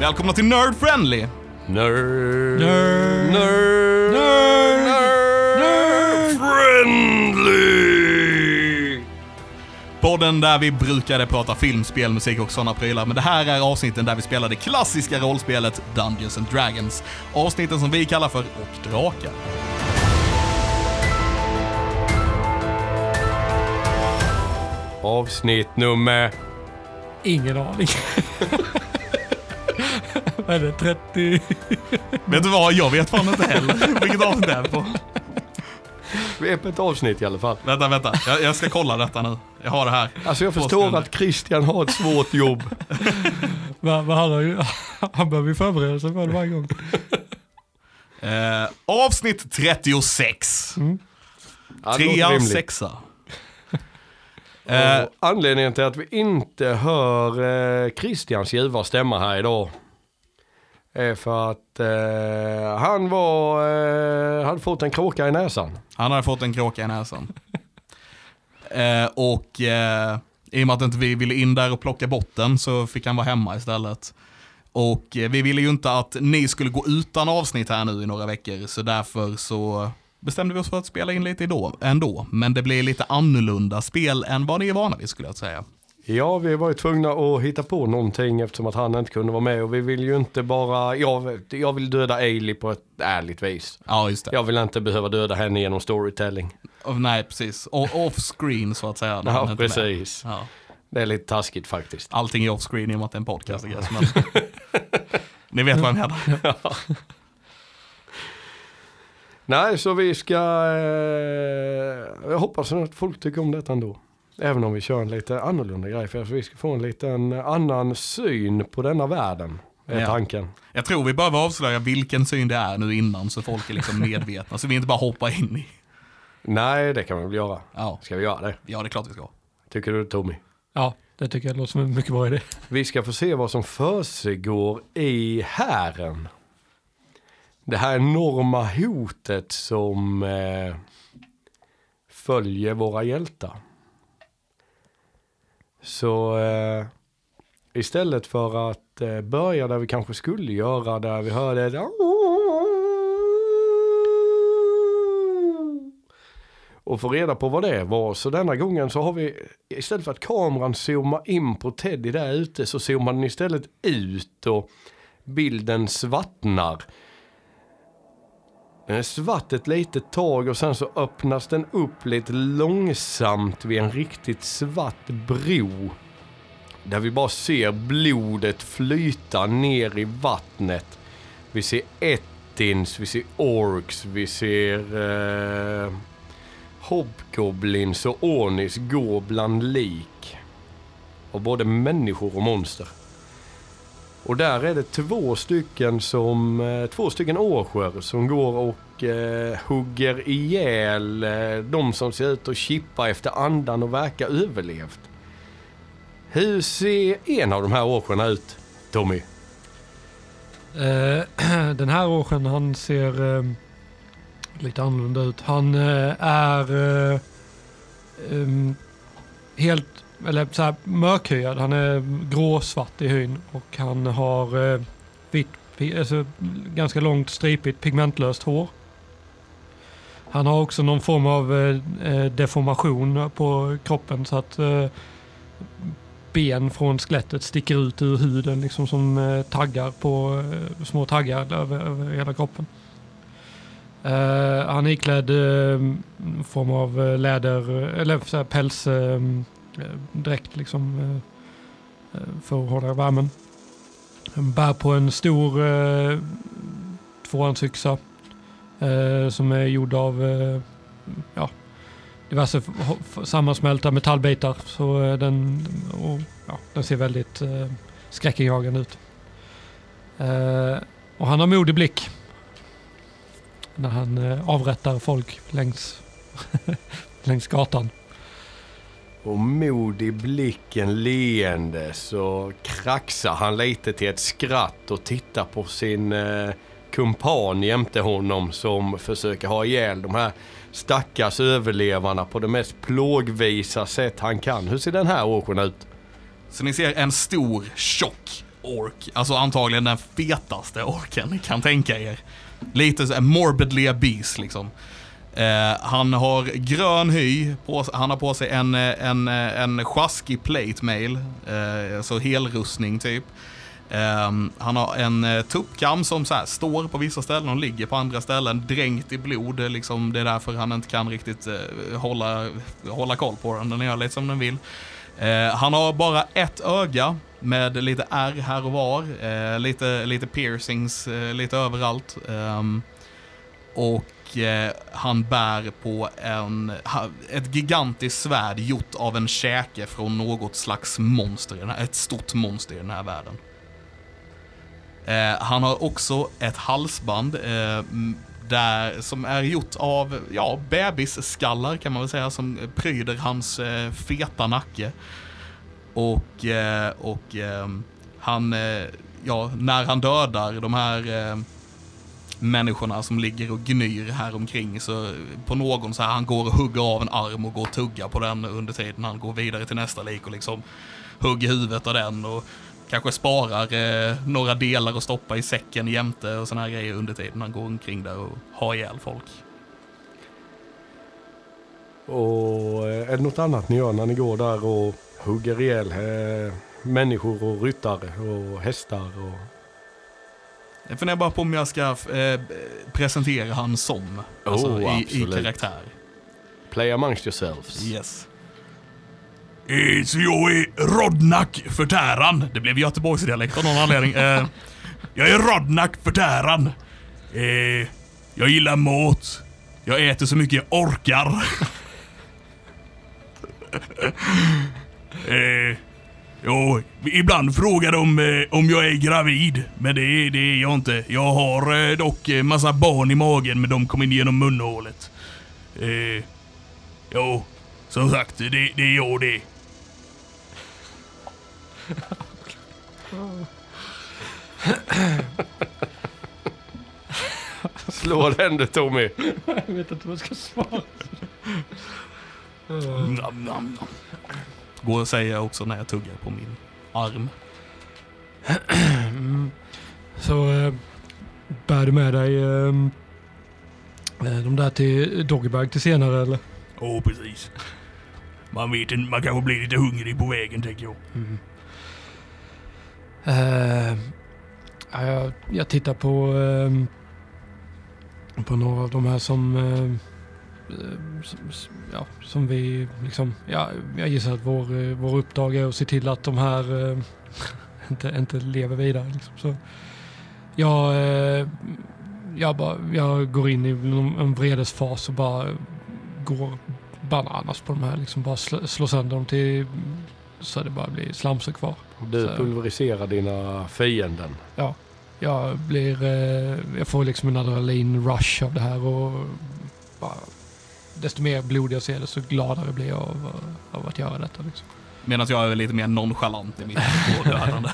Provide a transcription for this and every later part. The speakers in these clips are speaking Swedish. Välkomna till Nerd Friendly! Nerd. Nerd. Nerd. Friendly! Podden där vi brukade prata film, spel, musik och sådana prylar, men det här är avsnitten där vi spelar det klassiska rollspelet Dungeons and Dragons. Avsnitten som vi kallar för Och Drakar. Avsnitt nummer... Ingen aning. Vad är det? 30? Vet du vad? Jag vet fan inte heller vilket avsnitt det är på. Vi är på ett avsnitt i alla fall. Vänta, vänta. Jag, jag ska kolla detta nu. Jag har det här. Alltså jag Två förstår sekunder. att Christian har ett svårt jobb. Va, va, han, har ju, han behöver ju förbereda sig för det varje gång. Eh, avsnitt 36. Mm. Ja, det låter Trea, rimligt. sexa. Eh, Och Anledningen till att vi inte hör eh, Christians ljuva stämma här idag är för att eh, han var, eh, hade fått en kråka i näsan. han hade fått en kråka i näsan. Eh, och eh, i och med att inte vi ville in där och plocka bort den så fick han vara hemma istället. Och eh, vi ville ju inte att ni skulle gå utan avsnitt här nu i några veckor, så därför så bestämde vi oss för att spela in lite idag, ändå. Men det blir lite annorlunda spel än vad ni är vana vid skulle jag säga. Ja, vi var ju tvungna att hitta på någonting eftersom att han inte kunde vara med och vi vill ju inte bara, jag, jag vill döda Ailey på ett ärligt vis. Ja, just det. Jag vill inte behöva döda henne genom storytelling. Oh, nej, precis. O- off screen så att säga. när han Ja, inte är med. precis. Ja. Det är lite taskigt faktiskt. Allting är off screen i och med att det är en podcast. I guess, men... Ni vet vad jag menar. Nej, så vi ska... Eh, jag hoppas att folk tycker om detta ändå. Även om vi kör en lite annorlunda grej. För att vi ska få en liten annan syn på denna världen. Är Ja. tanken. Jag tror vi behöver avslöja vilken syn det är nu innan så folk är liksom medvetna. så vi inte bara hoppar in i... Nej, det kan vi väl göra. Ja, Ska vi göra det? ja det är klart vi ska. Tycker du Tommy? Ja, det tycker jag låter som en mycket bra idé. Vi ska få se vad som försiggår i hären. Det här enorma hotet som eh, följer våra hjältar. Så eh, istället för att eh, börja där vi kanske skulle göra, där vi hörde ett och få reda på vad det var. Så denna gången så har vi, istället för att kameran zoomar in på Teddy där ute så zoomar den istället ut och bilden svartnar. Den är svart ett litet tag och sen så öppnas den upp lite långsamt vid en riktigt svart bro. Där vi bara ser blodet flyta ner i vattnet. Vi ser ettins, vi ser orks, vi ser... Eh, Hobgoblins och Ornis går bland lik. Av både människor och monster. Och där är det två stycken som, eh, två stycken årsjör som går och eh, hugger ihjäl eh, de som ser ut att chippa efter andan och verkar överlevt. Hur ser en av de här årsjörna ut, Tommy? Eh, Den här årsjön, han ser eh, lite annorlunda ut. Han eh, är eh, em, helt, eller så här mörkhyad. Han är gråsvart i hyn och han har eh, vitt, pi- alltså ganska långt stripigt pigmentlöst hår. Han har också någon form av eh, eh, deformation på kroppen så att eh, ben från skelettet sticker ut ur huden liksom som eh, taggar på eh, små taggar över, över hela kroppen. Eh, han är iklädd eh, en form av eh, läder eller så här, päls eh, eh, dräkt liksom eh, eh, för att hålla värmen. Han bär på en stor eh, tvåhandsyxa eh, som är gjord av eh, ja, diverse f- ho- f- sammansmälta metallbitar. Så eh, den, och, ja, den ser väldigt eh, skräckinjagande ut. Eh, och han har modig blick. När han eh, avrättar folk längs, längs gatan. Och mod i blicken leende så kraxar han lite till ett skratt och tittar på sin eh, kumpan jämte honom som försöker ha ihjäl de här stackars överlevarna på det mest plågvisa sätt han kan. Hur ser den här åkern ut? Så ni ser en stor, tjock ork. Alltså antagligen den fetaste orken ni kan tänka er. Lite så här morbidly obese liksom. Eh, han har grön hy, på, han har på sig en, eh, en, eh, en sjaskig plate mail, eh, alltså helrustning typ. Ehm, han har en eh, tuppkam som så här står på vissa ställen och ligger på andra ställen dränkt i blod. eh, Liksom, det är därför han inte kan riktigt eh, hålla, hålla koll på den. Den gör lite som den vill. Eh, han har bara ett öga med lite ärr här och var. Eh, lite, lite piercings eh, lite överallt. Ehm, och eh, han bär på en, ha, ett gigantiskt svärd gjort av en käke från något slags monster, i den här, ett stort monster i den här världen. Eh, han har också ett halsband eh, m- där, som är gjort av ja, bebisskallar kan man väl säga som pryder hans eh, feta nacke. Och, eh, och ehm, han, eh, ja, när han dödar de här eh, människorna som ligger och gnyr här omkring så på någon så här, han går och hugger av en arm och går och tuggar på den under tiden han går vidare till nästa lik och liksom hugger huvudet av den och kanske sparar eh, några delar och stoppar i säcken jämte och såna här grejer under tiden han går omkring där och har ihjäl folk. Och eh, är det något annat ni gör när ni går där och hugger ihjäl eh, människor och ryttare och hästar? Och... Jag funderar bara på om jag ska eh, presentera han som, alltså Oh, i, i absolut. karaktär. Play amongst yourselves. Yes. Eh, så jag är Rodnak Förtäran. Det blev Göteborgsdialekt av någon anledning. Eh, jag är Rodnak Förtäran. Eh, jag gillar mat. Jag äter så mycket jag orkar. eh, jo, ibland frågar de eh, om jag är gravid, men det, är- det är jag inte. Jag har eh, dock eh, massa barn i magen, men de kommer in genom munhålet. Eh, Jo, som sagt, det, det är jag det. Slå den du Tommy. Jag vet inte vad jag ska svara. Nam, nam, nam. Mm. Går och säger jag också när jag tuggar på min arm. Mm. Så eh, bär du med dig eh, eh, de där till Doggybag till senare eller? Åh, oh, precis. Man vet inte, man kanske blir lite hungrig på vägen tänker jag. Mm. Eh, ja, jag, jag tittar på, ehm, på några av de här som, ehm, eh, som, som- ja, som vi liksom, ja, jag gissar att vår, eh, vår uppdrag är att se till att de här eh, inte, inte lever vidare. Liksom. Så jag, eh, jag, bara, jag går in i någon- en vredesfas och bara går bananas på de här. Liksom bara slå, slår sönder dem till så det bara blir slamsor kvar. Du Så. pulveriserar dina fienden. Jag blir, eh, jag får liksom en adrenalin-rush av det här och bara, desto mer blod jag ser desto gladare blir jag av, av att göra detta. Liksom. Medan jag är lite mer nonchalant i mitt pådödande.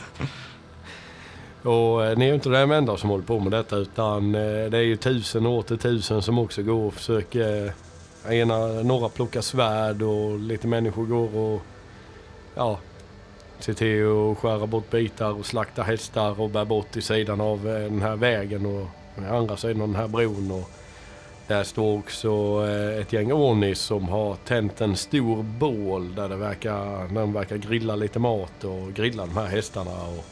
Och eh, ni är ju inte de enda som håller på med detta utan eh, det är ju tusen och åter tusen som också går och försöker. eh, Ena, några plockar svärd och lite människor går och ja, ser till att skära bort bitar och slakta hästar och bär bort i sidan av eh, den här vägen och den andra sidan av den här bron. Och där står också eh, ett gäng ornis som har tänt en stor bål där det verkar, där de verkar grilla lite mat och grilla de här hästarna. Och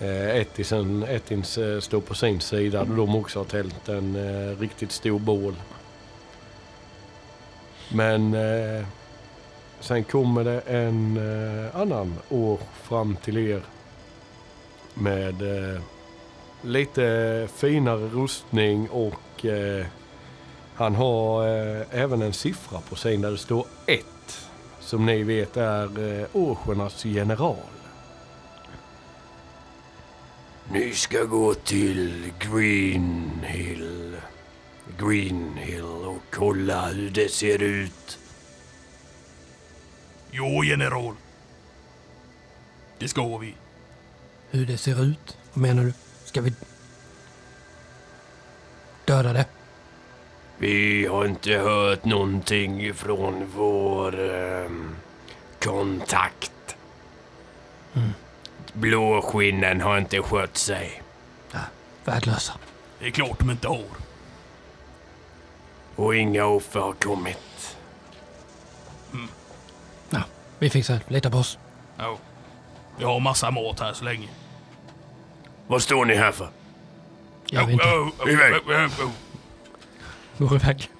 Eh, Ettisen, Ettins eh, står på sin sida då de också har tält en eh, riktigt stor bål. Men eh, sen kommer det en eh, annan år fram till er med eh, lite finare rustning och eh, han har eh, även en siffra på sig där det står 1 som ni vet är eh, Åsjornas general. Ni ska gå till Greenhill. Greenhill och kolla hur det ser ut. jo, general. Det ska vi. Hur det ser ut? Vad menar du? Ska vi döda det? Vi har inte hört någonting från Mm. vår ehm, kontakt. Blåskinnen har inte skött sig. Värdelösa. Det är klart de inte har. Och inga offer har kommit. Vi fixar det. Lita på oss. Ja. Jag har massa mat här så länge. Vad står ni här för? Gör vi inte. Iväg. Går iväg.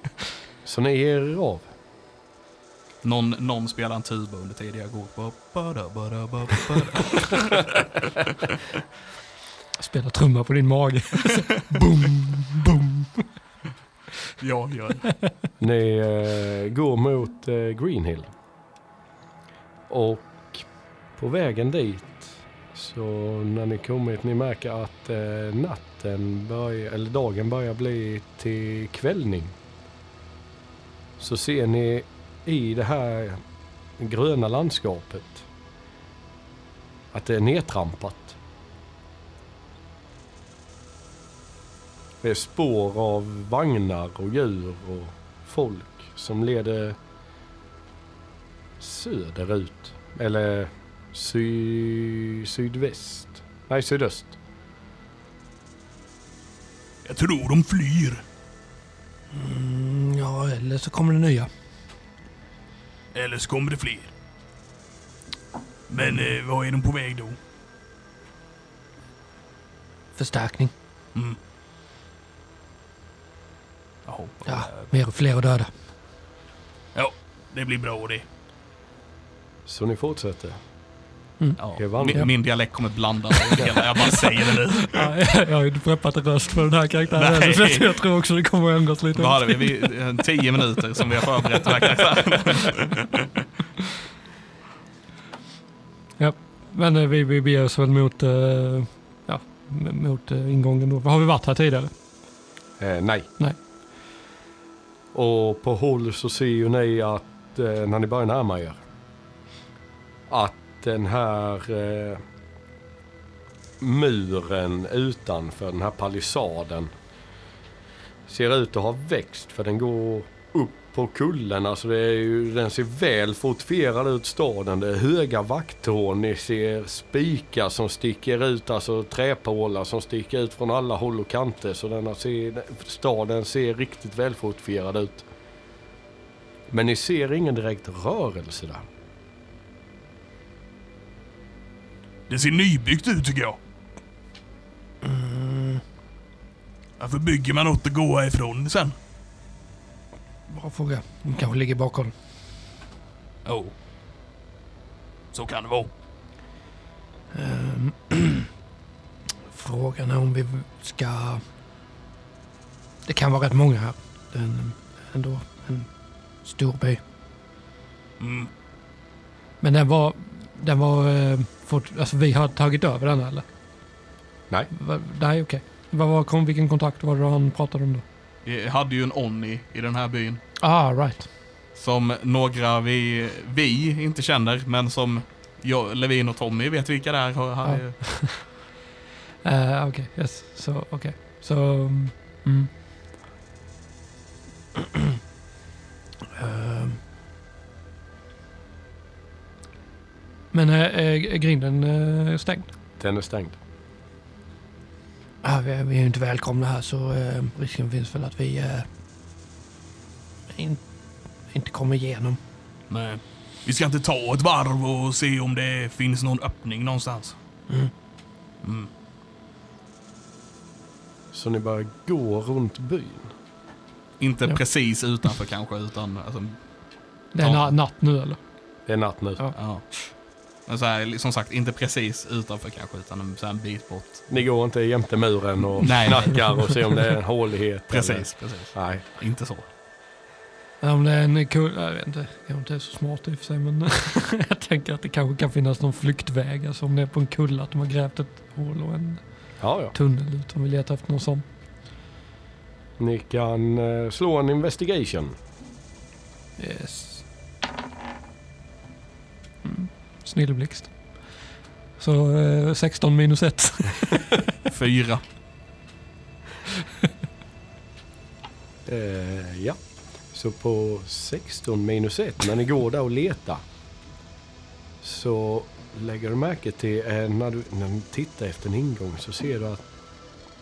Så ni ger er av? Någon, någon spelar en tuba under tiden jag går. Ba, ba, da, ba, da, ba, ba, da. Spela trumma på din mage. Ja, gör det. Ni eh, går mot eh, Greenhill. Och på vägen dit så när ni kommit, ni märker att eh, natten börjar, eller dagen börjar bli till kvällning. Så ser ni i det här gröna landskapet att det är nedtrampat. Det är spår av vagnar och djur och folk som leder söderut. Eller sy, sydväst. Nej, sydöst. Jag tror de flyr. Mm, ja, eller så kommer det nya. Eller så kommer det fler. Men eh, vad är de på väg då? Förstärkning. Mm. Jaha. Ja, mer och fler döda. Ja, eh, det blir bra det. Så ni fortsätter. Det Ja. var Min, det. min dialekt kommer blanda sig i det hela. Jag bara säger det nu. Ja, jag har ju inte preppat en röst för den här karaktären. Nej. Så att jag tror också det kommer att ändras lite. Vad hade vi? vi? eh, Tio minuter som vi har förberett den här karaktären. Men eh, vi, vi beger oss väl mot, eh, ja, m- mot eh, ingången då. Har vi varit här tidigare? Eh, nej. Nej. Och på håll så ser ju ni att eh, när ni börjar närma er att den här eh, muren utanför den här palissaden ser ut att ha växt för den går upp på kullen. Alltså det är ju, den ser väl fortifierad ut staden. Det är höga vakttorn. Ni ser spikar som sticker ut, alltså träpålar som sticker ut från alla håll och kanter. Så den har ser, staden ser riktigt väl fortifierad ut. Men ni ser ingen direkt rörelse där. Det ser nybyggt ut tycker jag. Varför bygger man något och går härifrån sen? Bra fråga. De kanske ligger bakom. Jo. Så kan det vara. Ehm, Frågan är om vi ska... Det kan vara rätt många här. Det är en, ändå en stor by. Mm. Men den var... Den var... eh, Fort, alltså vi har tagit över den eller? Nej. Va, nej, okej. Vad var, kom, vilken kontakt var det han pratade om då? Vi hade ju en Onni i den här byn. Ah, right. Som några vi, vi inte känner, men som jag, Levin och Tommy vet vilka det är. Har, har, Eh, okej, yes. Så, okej. Så... Mm. Ehm. Men är, är grinden eh, stängd? Den är stängd. Ja, vi, är, vi är ju inte välkomna här så eh, risken finns väl att vi eh, in, inte kommer igenom. Nej. Vi ska inte ta ett varv och se om det finns någon öppning någonstans. Mm. Mm. Så ni börjar gå runt byn. Inte Ja. precis utanför kanske, utan alltså, Det är Ja. na- natt nu eller? Det är natt nu. Ja. ja. Men så här, som sagt, inte precis utanför kanske, utan en, så här, en bit bort. Ni går inte jämte muren och Nej. knackar och ser om det är en hålighet. Precis, precis. Eller... Nej. Inte så. Ja, Om det är en kul... Jag vet inte, jag inte är så smart i och för sig men jag tänker att det kanske kan finnas någon flyktväg. Alltså om det är på en kulle att de har grävt ett hål och en Ja, ja. tunnel ut om vi letar efter någon sån. Ni kan eh, slå en investigation. Yes. Mm. Snilleblixt. Så eh, 16 minus 1. Fyra. Eh, ja. Så på 16 minus 1, när ni går där och letar så lägger du märke till eh, när du, när du tittar efter en ingång så ser du att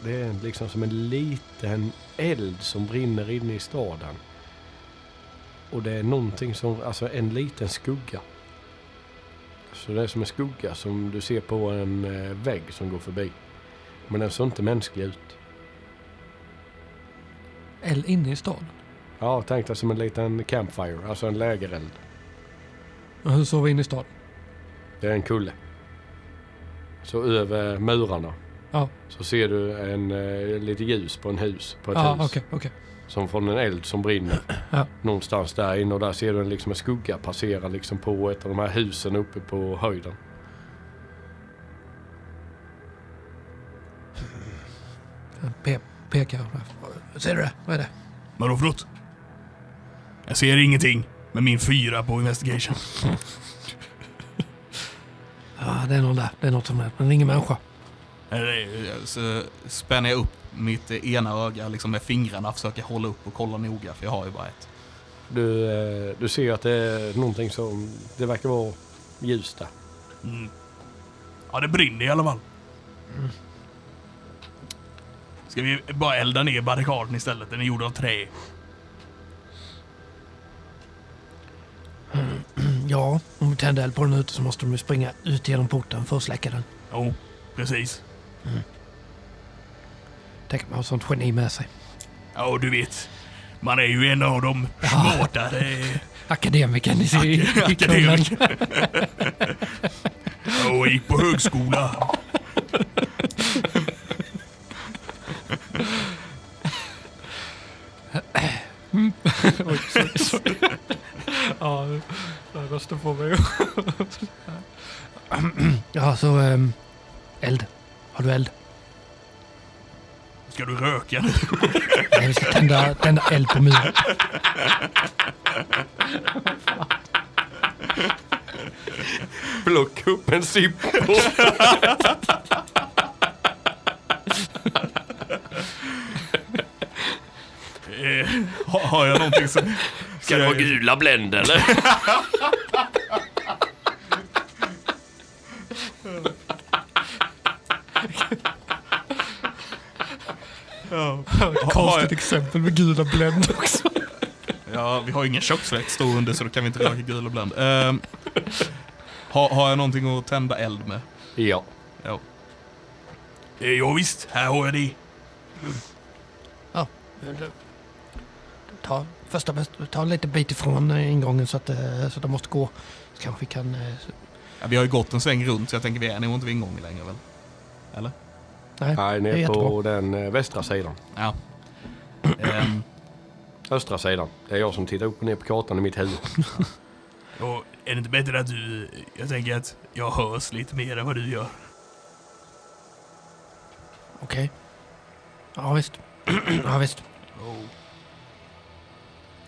det är liksom som en liten eld som brinner inne i staden. Och det är någonting som, alltså en liten skugga. Så det är som en skugga som du ser på en eh, vägg som går förbi. Men den ser inte mänsklig ut. Eller inne i staden. Ja, tänk dig som en liten campfire, alltså en lägereld. Ja, Hur såg vi in i staden? Det är en kulle. Så över murarna Ja. så ser du en, eh, lite ljus på en hus, på ett Ja, hus. Ah, okej, okej. Som från en eld som brinner. Ja. Någonstans där inne och där ser du en, liksom en skugga passera liksom på ett av de här husen uppe på höjden. Jag Pe pekar. Ser du det? Vad är det? Vadå för något? Jag ser ingenting med min fyra på investigation. Ja, det är någon där. Det är något som är. Men ingen människa. Eller, Så spänner jag upp mitt ena öga liksom med fingrarna, försöker hålla upp och kolla noga för jag har ju bara ett. Du, eh, du ser att det är någonting som, det verkar vara ljus där. Mm. Ja, det brinner i alla fall. Mm. Ska vi bara elda ner barrikaden istället? Den är gjord av trä. Ja, om vi tänder eld på den ute så måste de ju springa ut genom porten för att släcka den. Jo, precis. Tänk att man har sånt geni med sig. Ja, du vet. Man är ju en av de smarta. Det är... Akademikern i sig. i kullen. Akademiker. Jag gick på högskola. Oj, sorry, sorry. ja, jag rösten på mig. ja, så ehm, eld. Har du eld? Ska du röka nu? Nej, vi ska tända, tända eld på muren. Plocka upp en sipp. Eh, har, har jag någonting som... Ska jag, gula Blend eller? ja. Konstigt exempel med gula bländ också. ja, vi har ingen köksfläkt stå under så då kan vi inte röka gul ibland. Eh, har, har jag någonting att tända eld med? ja. Ja. Eh, ja, visst, här har jag det. Ta, första, bäst- ta en liten bit ifrån eh, ingången så att, eh, så att de måste gå. Så kanske vi kan... eh, s- Ja, vi har ju gått en sväng runt så jag tänker vi är nog inte vid ingången längre väl? Eller? Nej, Nej, det är ner jättebra. på den eh, västra sidan. Ja. Ehm, Östra sidan. Det är jag som tittar upp och ner på kartan i mitt huvud. Och är det inte bättre att du... Jag tänker att jag hörs lite mer än vad du gör. Okej. Ja, visst. ja, visst.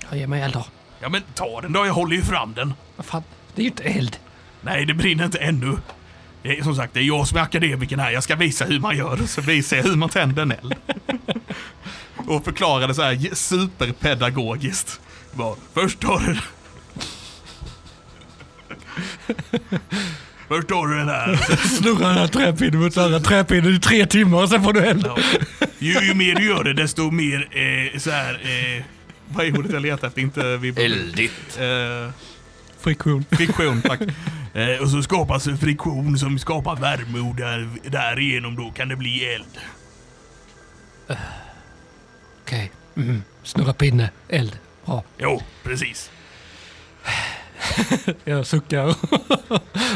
Ja, ge mig eld då. Ja men ta den då, jag håller ju fram den. Vad fan? Det är ju inte eld. Nej, det brinner inte ännu. Det är, som sagt, det är jag som är akademikern här. Jag ska visa hur man gör och så visar jag hur man tänder en eld. och förklarade så här superpedagogiskt. Bara, först tar du... Först tar du den här. Snurra den här träpinnen mot den andra träpinnen i tre timmar och sen får du eld. Ja. Ju, ju mer du gör det, desto mer eh, så här... Eh, vad är ordet jag letar efter? Inte vi... Eldigt. Eh, Friktion. friktion, tack. Eh, och så skapas en friktion som skapar värme och där, därigenom då kan det bli eld. Okej. Mm. Snurra pinne. Eld. Bra. Jo, precis. Jag suckar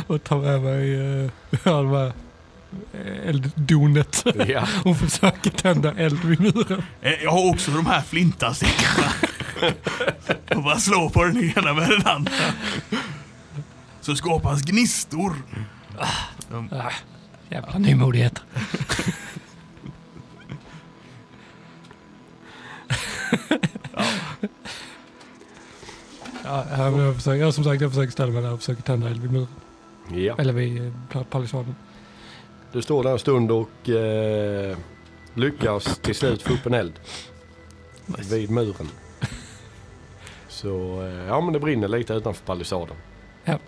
och tar med mig eh, halva elddonet Ja. och eh, försöker tända eld vid muren. Eh, jag har också de här flintastickarna. och bara slår på den ena med den andra. Så skapas gnistor. Ah, jävla nymodighet. ja. ja, men jag, försöker, jag, som sagt, jag försöker ställa mig där och försöker tända eld vid muren. ja. Eller vid eh, pal- palissaden. Du står där en stund och eh, lyckas till slut få upp en eld vid muren. Så eh, ja, men det brinner lite utanför palissaden. Ja.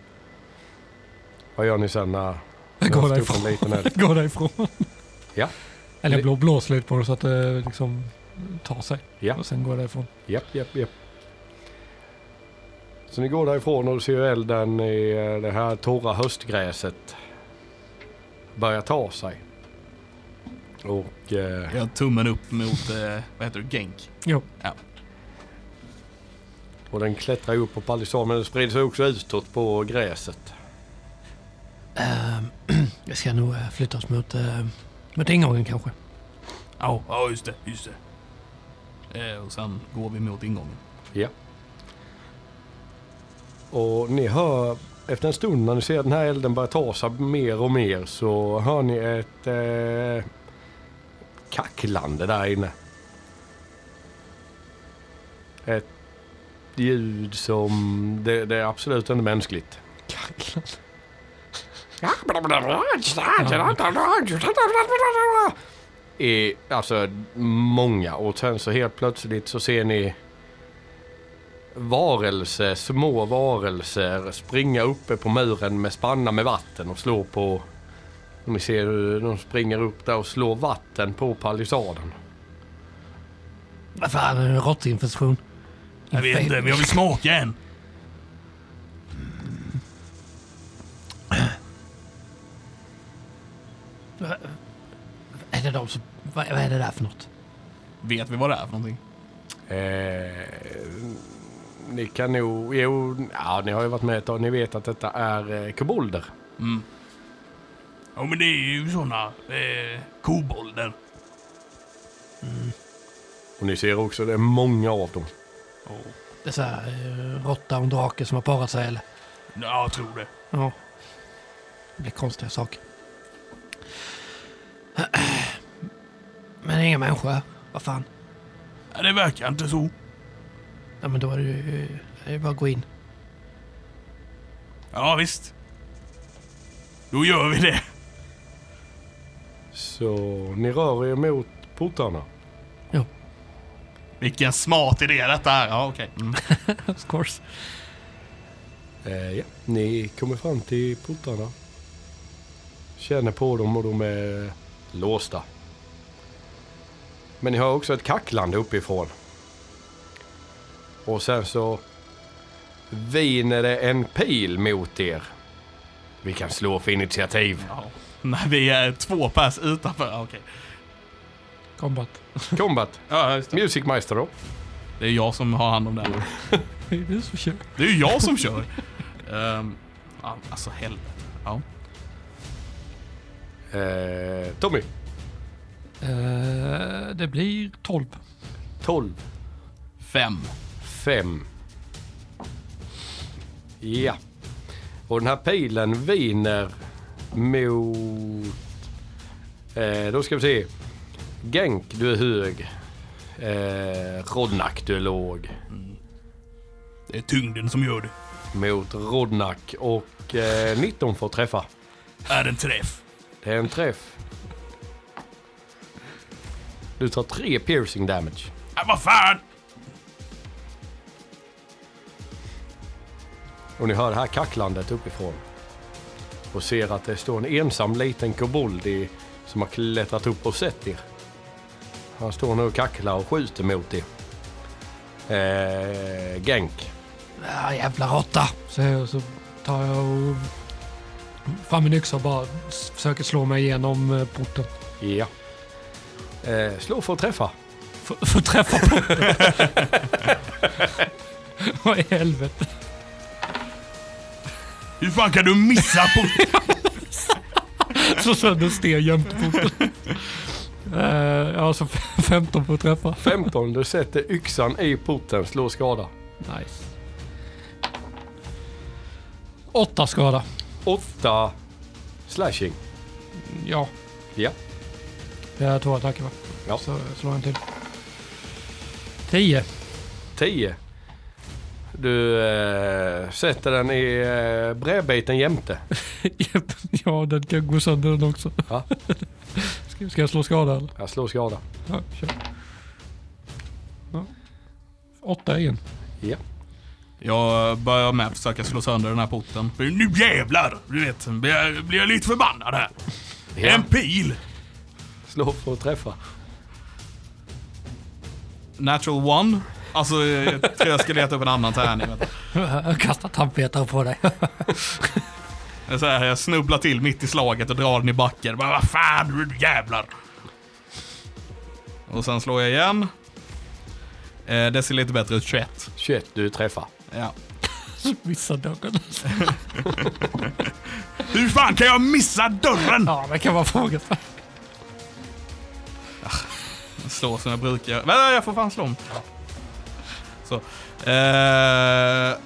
Vad gör ni sen när... Jag Jag går har haft upp en därifrån. liten eld. Går därifrån. Ja. Eller jag blå- blåser lite på det så att det liksom tar sig. Ja. Och sen går jag därifrån. Japp, japp, japp. Så ni går därifrån och du ser elden i eh, det här torra höstgräset börja ta sig. Och eh, Jag har tummen upp mot, eh, vad heter det, Genk. Jo. Och den klättrar ju upp på palissaden men den sprider sig också utåt på gräset. Jag ska nog eh, flytta oss mot, eh, mot ingången kanske. Ja, ja just det, just det. Eh, och sen går vi mot ingången. Och ni hör, efter en stund när ni ser den här elden börja ta sig mer och mer så hör ni ett eh, kacklande där inne. Ett ljud som, det, det är absolut inte mänskligt. Kacklan. I, alltså många och sen så helt plötsligt så ser ni varelser, små varelser springa uppe på muren med spannar med vatten och slå på ni ser hur de springer upp där och slår vatten på palissaden. Vad fan, är det en råttinfektion? Jag vet inte, men jag vill smaka en. Är det de som... Vad, vad är det där för något? Vet vi vad det är för någonting? Eh, ni kan nog, jo, ja, ni har ju varit med ett tag, ni vet att detta är eh, kobolder. Mm. Ja men det är ju såna eh, kobolder. Och ni ser också det är många av dem. Dessa eh, råtta och en drake som har parat sig eller? Ja, jag tror det. Ja. Det blir konstiga saker. Men det är ingen människa. Vad fan. Ja, det verkar inte så. Ja men då är det ju... Det är ju bara att gå in. Ja visst. Då gör vi det. Så ni rör er mot portarna. Vilken smart idé detta är. Ja okej. Mm. Of course. Eh, ja. Ni kommer fram till portarna. Känner på dem och de är låsta. Men ni hör också ett kacklande uppifrån. Och sen så viner det en pil mot er. Vi kan slå för initiativ. Ja. När vi är två pers utanför. Ja, okej. Combat. Combat. Ja, just det. Musicmeister då. det är jag som har hand om det. här. Det är du som kör. Det är ju jag som kör. Ehm, ja, alltså helvete. Ja. Eh, Tommy. Eh, det blir 12. 12. Fem. Fem. Ja. Och den här pilen viner mot... Eh, då ska vi se. Genk, du är hög. Eh, Rodnak, du är låg. Det är tyngden som gör det. Mot Rodnak och eh, 19 får träffa. Är en träff. Det är en träff. Du tar tre piercing damage. Ja, vad fan! Och ni hör det här kacklandet uppifrån. Och ser att det står en ensam liten kobold i, som har klättrat upp och sett er. Han står nu och kacklar och skjuter mot er. Eh, Genk. Ah, jävla råtta. Så, här, så tar jag och fram min yxa och bara s- försöker slå mig igenom eh, porten. Ja. Eh, slå för att träffa. Får får träffa porten. Vad i helvete. Hur fan kan du missa på... Så sönder sten jämte porten. Eh, ja, så f- 15 får träffa. 15. Du sätter yxan i porten. Slå skada. Nice. Åtta skada. 8. Slashing. Ja. Ja. Det är två attacker va? Ja. Så slår jag en till. Tio. 10. Du eh, sätter den i eh, brädbiten jämte. Japp. ja, den kan gå sönder den också. Ja. ska, ska jag slå skada eller? Jag slår skada. Ja, kör. Ja. Åtta igen. Jag börjar med att försöka slå sönder den här porten. Nu jävlar! Du vet, blir jag, blir jag lite förbannad här. En pil! Slå för att träffa. Natural one. Alltså, jag tror jag ska leta upp en annan tärning. vänta. Jag kastar tandpetare på dig. Det är Så här, jag snubblar till mitt i slaget och drar den i backen. Bara, vad fan, du jävlar! Och sen slår jag igen. Eh, det ser lite bättre ut, 21. 21, du träffar. Ja. Missar dörren. Hur fan kan jag missa dörren? Ja, det kan man fråga sig. Slå som jag brukar. Vänta, jag får fan slå om. Så. Eh,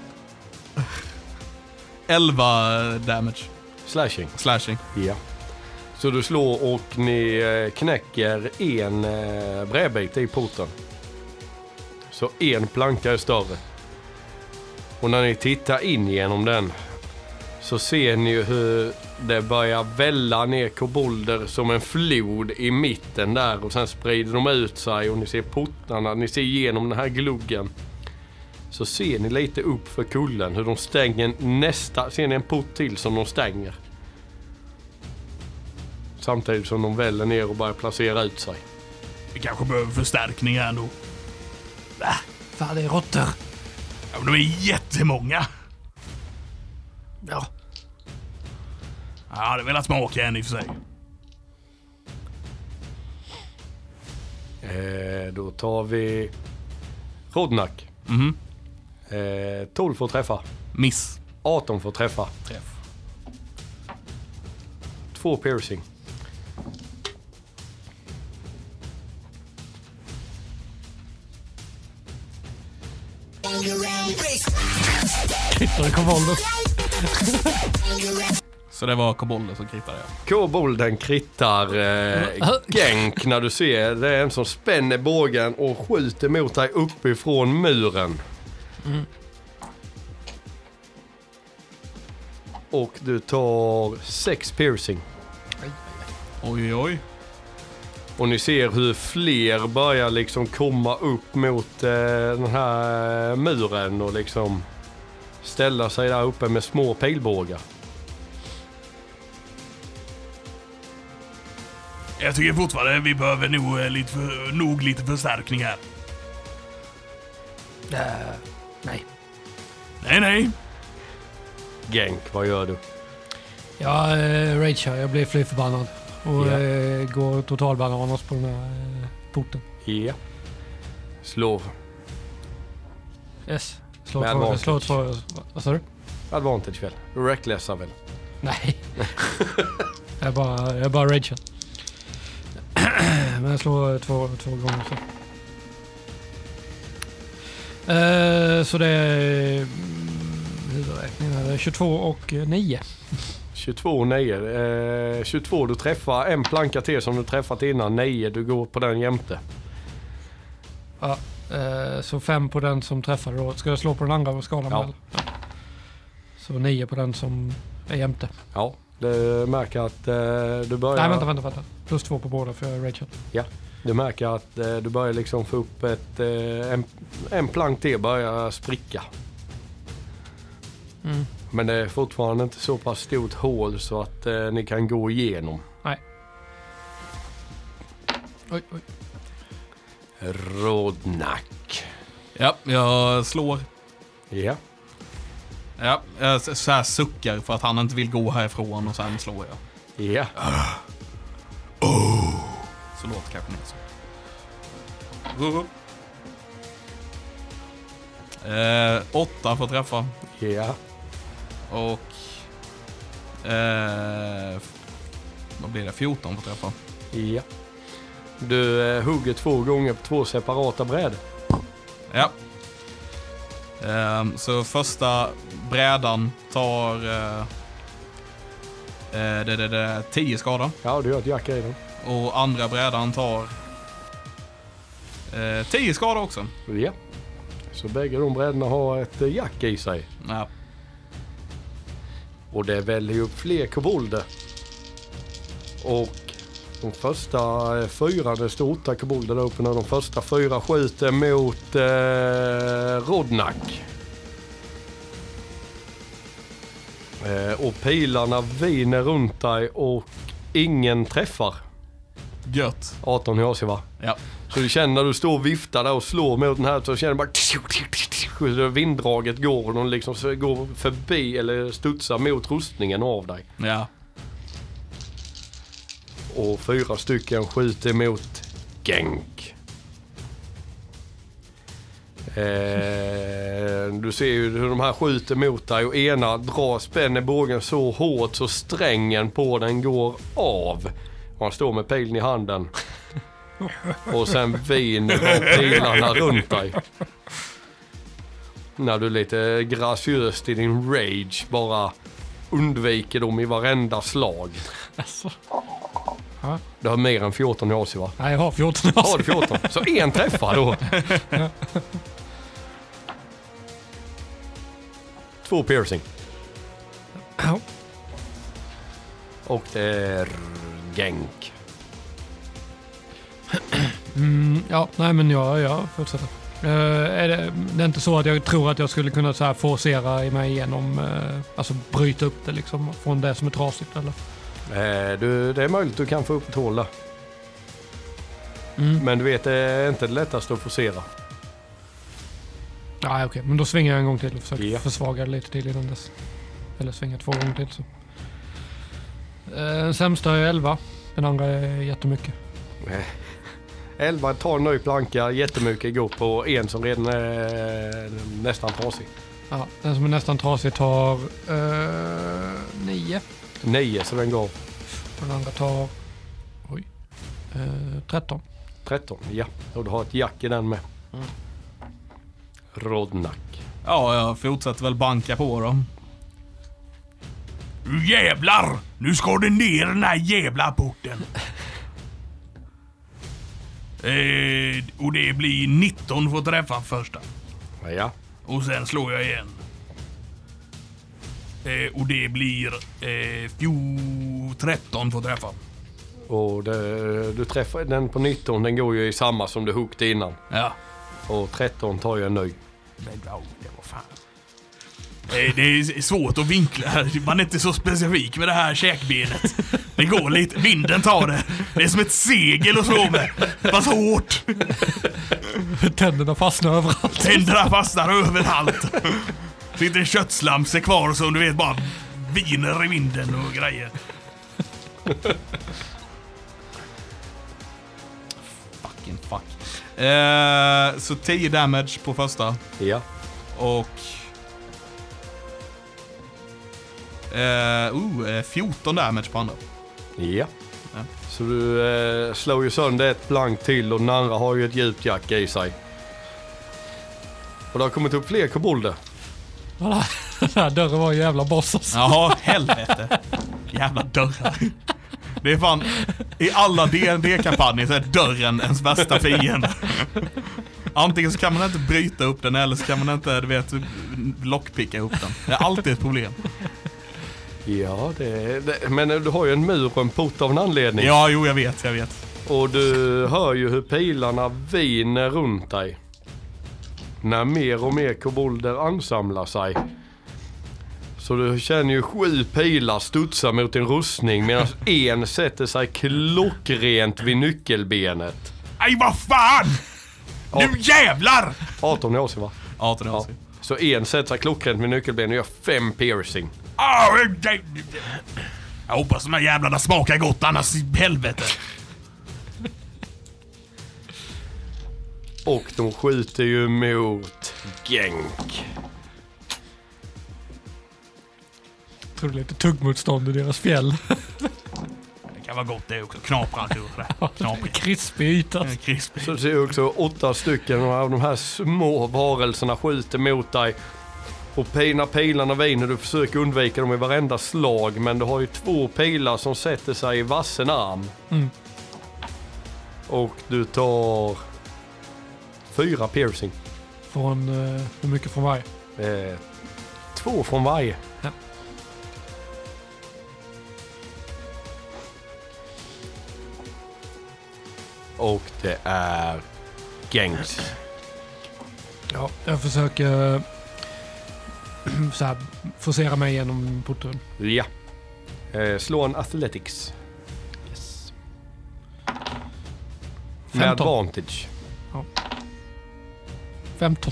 11 damage. Slashing. Slashing. Ja. Så du slår och ni eh, knäcker en eh, brädbit i porten. Så en planka är större. Och när ni tittar in genom den så ser ni ju hur det börjar välla ner kobolder som en flod i mitten där och sen sprider de ut sig och ni ser portarna, ni ser igenom den här gluggen. Så ser ni lite upp för kullen hur de stänger nästa, ser ni en port till som de stänger. Samtidigt som de väller ner och börjar placera ut sig. Vi kanske behöver förstärkning här ändå. Fan, det är råttor. Ja, men De är jättemånga. Ja, Jag hade velat smaka en i och för sig. Eh, då tar vi Rodnak. Mhm. Eh, 12 får träffa. Miss. 18 får träffa. Träff. 2 piercing. hittar du kobolder. Så det var kobolder som krittade jag. Kobolden krittar eh, gänk när du ser. Det är en som spänner bågen och skjuter mot dig uppifrån muren. Och du tar 6 piercing. Oj, oj, oj. Och ni ser hur fler börjar liksom komma upp mot eh, den här eh, muren och liksom ställa sig där uppe med små pilbågar. Jag tycker fortfarande vi behöver nog, eh, lite, för, nog lite förstärkning här. Eh, nej. Nej, nej. Genk, vad gör du? Jag eh, ragear. Jag blir fly förbannad. Och Ja. eh, går totalbananas på den här eh, porten. Ja. Slår. Yes. Slå Med två. advantage. Slå två. Vad sa du? Advantage väl? Recklessar väl? Nej. jag bara, jag bara ragear. Men jag slår två, två gånger så. Eh, så det är mm, huvudräkning här. Det är 22 och 9. 22 9. Eh, 22 du träffar en planka till som du träffat innan. 9 du går på den jämte. Eh, så 5 på den som träffade då. Ska jag slå på den andra och skada mig? Ja. eller? Ja. Så 9 på den som är jämte. Ja. Du märker att eh, du börjar... Nej vänta, vänta, vänta. Plus 2 på båda för jag ragear. Du märker att eh, du börjar liksom få upp ett... Eh, en, en plank till börjar spricka. Mm. Men det är fortfarande inte så pass stort hål så att eh, ni kan gå igenom. Oj, oj. Rodnack. Ja, jag slår. Ja. Ja, jag s- så här suckar för att han inte vill gå härifrån och sen slår jag. Ja. Så låter kanske inte så. Ruh, ruh. Eh, åtta får träffa. Ja. Och... Eh, vad blir det? 14 får träffa. Ja. Du eh, hugger två gånger på två separata brädor. Ja. Ehm, så första brädan tar... Eh, eh, det, det, det, 10 skada. Ja, du gör ett jack i dem. Och andra brädan tar... Eh, 10 skada också. Ja. Så bägge de brädorna har ett eh, jack i sig. Ja. Och det väller ju upp fler kobolder. Och de första eh, fyra, det står åtta kobolder där uppe när de första fyra skjuter mot eh, Rodnack. Eh, Och pilarna viner runt dig och ingen träffar. Gött. 18 i AC va? Ja. Så du känner när du står och viftar där och slår mot den här så känner du bara... så Vinddraget går och de liksom så går förbi eller studsar mot rustningen av dig. Ja. Och fyra stycken skjuter mot Genk. Eh, du ser ju hur de här skjuter mot dig och ena drar, spänner bågen så hårt så strängen på den går av. Och han står med pilen i handen. Och sen viner av pilarna runt dig. När du lite graciöst i din rage bara undviker dem i varenda slag. Alltså. Du har mer än 14 i AC va? Nej, jag har 14 Ja, har du 14. Så en träffar då. Två piercing. Ja. Och det är Genk. Mm, ja, nej men jag, jag fortsätter. Eh, är det, det är inte så att jag tror att jag skulle kunna så här forcera i mig igenom, eh, alltså bryta upp det liksom från det som är trasigt eller? Eh, du, det är möjligt du kan få upp ett hål där. Men du vet, det är inte det lättaste att forcera. Nej okej, men då svingar jag en gång till och försöker Ja. försvaga det lite till innan dess. Eller svinga två gånger till så. Eh, Den sämsta är 11. Den andra är jättemycket. 11 tar en ny planka, jättemycket går på en som redan är nästan trasig. Ja, den som är nästan trasig tar 9. 9 så den går den andra tar... Oj. Eh, 13. 13. Ja, och du har ett jack i den med. Rodnack. Ja, jag fortsätter väl banka på då. Nu jävlar! Nu ska du ner den här jävla porten. eh, och det blir 19 för att träffa första. Ja. Och sen slår jag igen. Eh, och det blir eh, fjo- 13 för att träffa. Och det, du träffar den på 19, den går ju i samma som du hookade innan. Ja. Och 13 tar ju en ny. Men ja, det var fan. Eh, Det är svårt att vinkla här. Man är inte så specifik med det här käkbenet. Det går lite. Vinden tar det. Det är som ett segel att slå med. Fast hårt. Tänderna fastnar överallt. Tänderna fastnar överallt. Sitter en köttslamse kvar som du vet bara viner i vinden och grejer. Fucking fuck. Eh, så 10 damage på första. Ja. Och... Eh, oh, eh, 14 damage på andra. Ja. Ja. Så du eh, slår ju sönder ett blank till och den andra har ju ett djupt jack i sig. Och det har kommit upp fler kobolder. Ja, Den här dörren var en jävla boss alltså. Jaha, helvete. Jävla dörrar. Det är fan, i alla dd kampanjer så är dörren ens värsta fiende. Antingen så kan man inte bryta upp den eller så kan man inte, du vet, lockpicka upp den. Det är alltid ett problem. Ja, det, det, men du har ju en mur och en port av en anledning. Ja, jo, jag vet, jag vet. Och du hör ju hur pilarna viner runt dig. När mer och mer kobolder ansamlar sig. Så du känner ju sju pilar studsa mot din rustning medan en sätter sig klockrent vid nyckelbenet. Aj, vad fan! Nu jävlar! 18 år sedan va? 18 år. Ja. Så en sätter sig klockrent vid nyckelbenet och gör fem piercing. Ah, eh, eh, eh. Jag hoppas de här jävlarna smakar gott, annars i helvete. Och de skjuter ju mot Genk. Jag tror det är lite tuggmotstånd i deras fjäll. Det kan vara gott det också. Knaprar du det? Knaprar. Krispig yta. Mm. Krispigt. Så ser jag också åtta stycken av de här små varelserna skjuter mot dig. Och pina pilarna viner, du försöker undvika dem i varenda slag. Men du har ju två pilar som sätter sig i vassen arm. Mm. Och du tar fyra piercing. Från, eh, hur mycket från varje? Eh, två från varje. Ja. Och det är Gengs. eh, Ja, jag försöker så här, forcera mig igenom porten. Ja. Eh, slå en Athletics. Yes. Med 15. advantage. 15.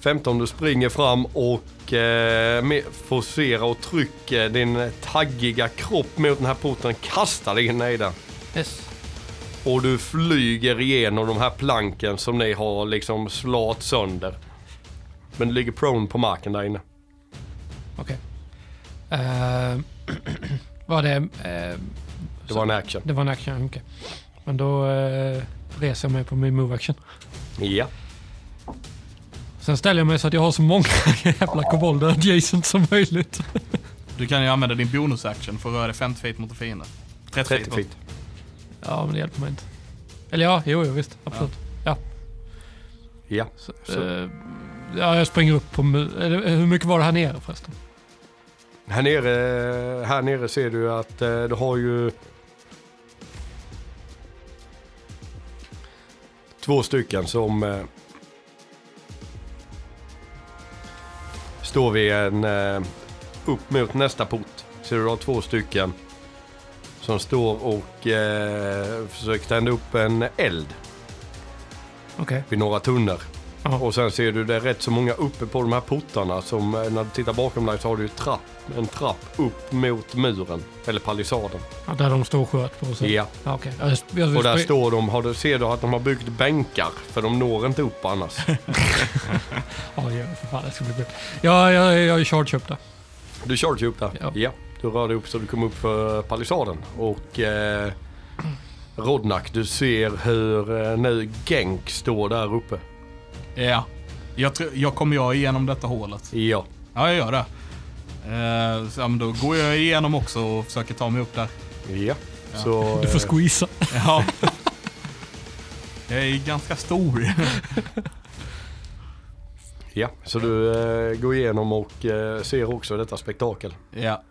15, du springer fram och eh, med- forcerar och trycker din taggiga kropp mot den här porten. Kastar dig in i den. Yes. Och du flyger igenom de här planken som ni har liksom slagit sönder. Men du ligger prone på marken där inne. Okej. Eh, var det... eh, Det var en action. det var en action, okej. Men då eh, reser jag mig på min move action. Ja. Sen ställer jag mig så att jag har så många jävla kobolder adjacent som möjligt. Du kan ju använda din bonusaction för att röra dig 50 feet mot en fiende. 30, 30 feet. feet. Ja, men det hjälper mig inte. Eller ja, jo, jo visst. Absolut. Ja. Så, Så- eh, ja, jag springer upp på... mu- eller, eh, Hur mycket var det här nere förresten? Här nere, här nere ser du att eh, du har ju två stycken som eh, står vid en eh, upp mot nästa port. Ser du du har två stycken som står och eh, försöker tända upp en eld Okej. vid några tunnor. Ja. Och sen ser du det är rätt så många uppe på de här portarna som eh, när du tittar bakom dig så har du ju trapp, en trapp upp mot muren eller palissaden. Ja, där de står och sköt på sig. Ja. Ja, okej. Ja, Jag, jag, Och där spring- står de, har du, ser du att de har byggt bänkar för de når inte upp annars. Ja, ja, för fan, det ska bli kul. Ja, jag, jag är charge upp där. Du körde ju upp där. Ja. Du rörde upp så du kom upp för palissaden. Och eh, Rodnak, du ser hur eh, nu Genk står där uppe. Ja. Jag, tror- jag kommer jag igenom detta hålet? Ja. Ja, jag gör det. Eh, så, ja, men då går jag igenom också och försöker ta mig upp där. Ja. Så, Du får eh, squeeza. Ja. jag är ganska stor. ja. så du eh, går igenom och eh, ser också detta spektakel. ja.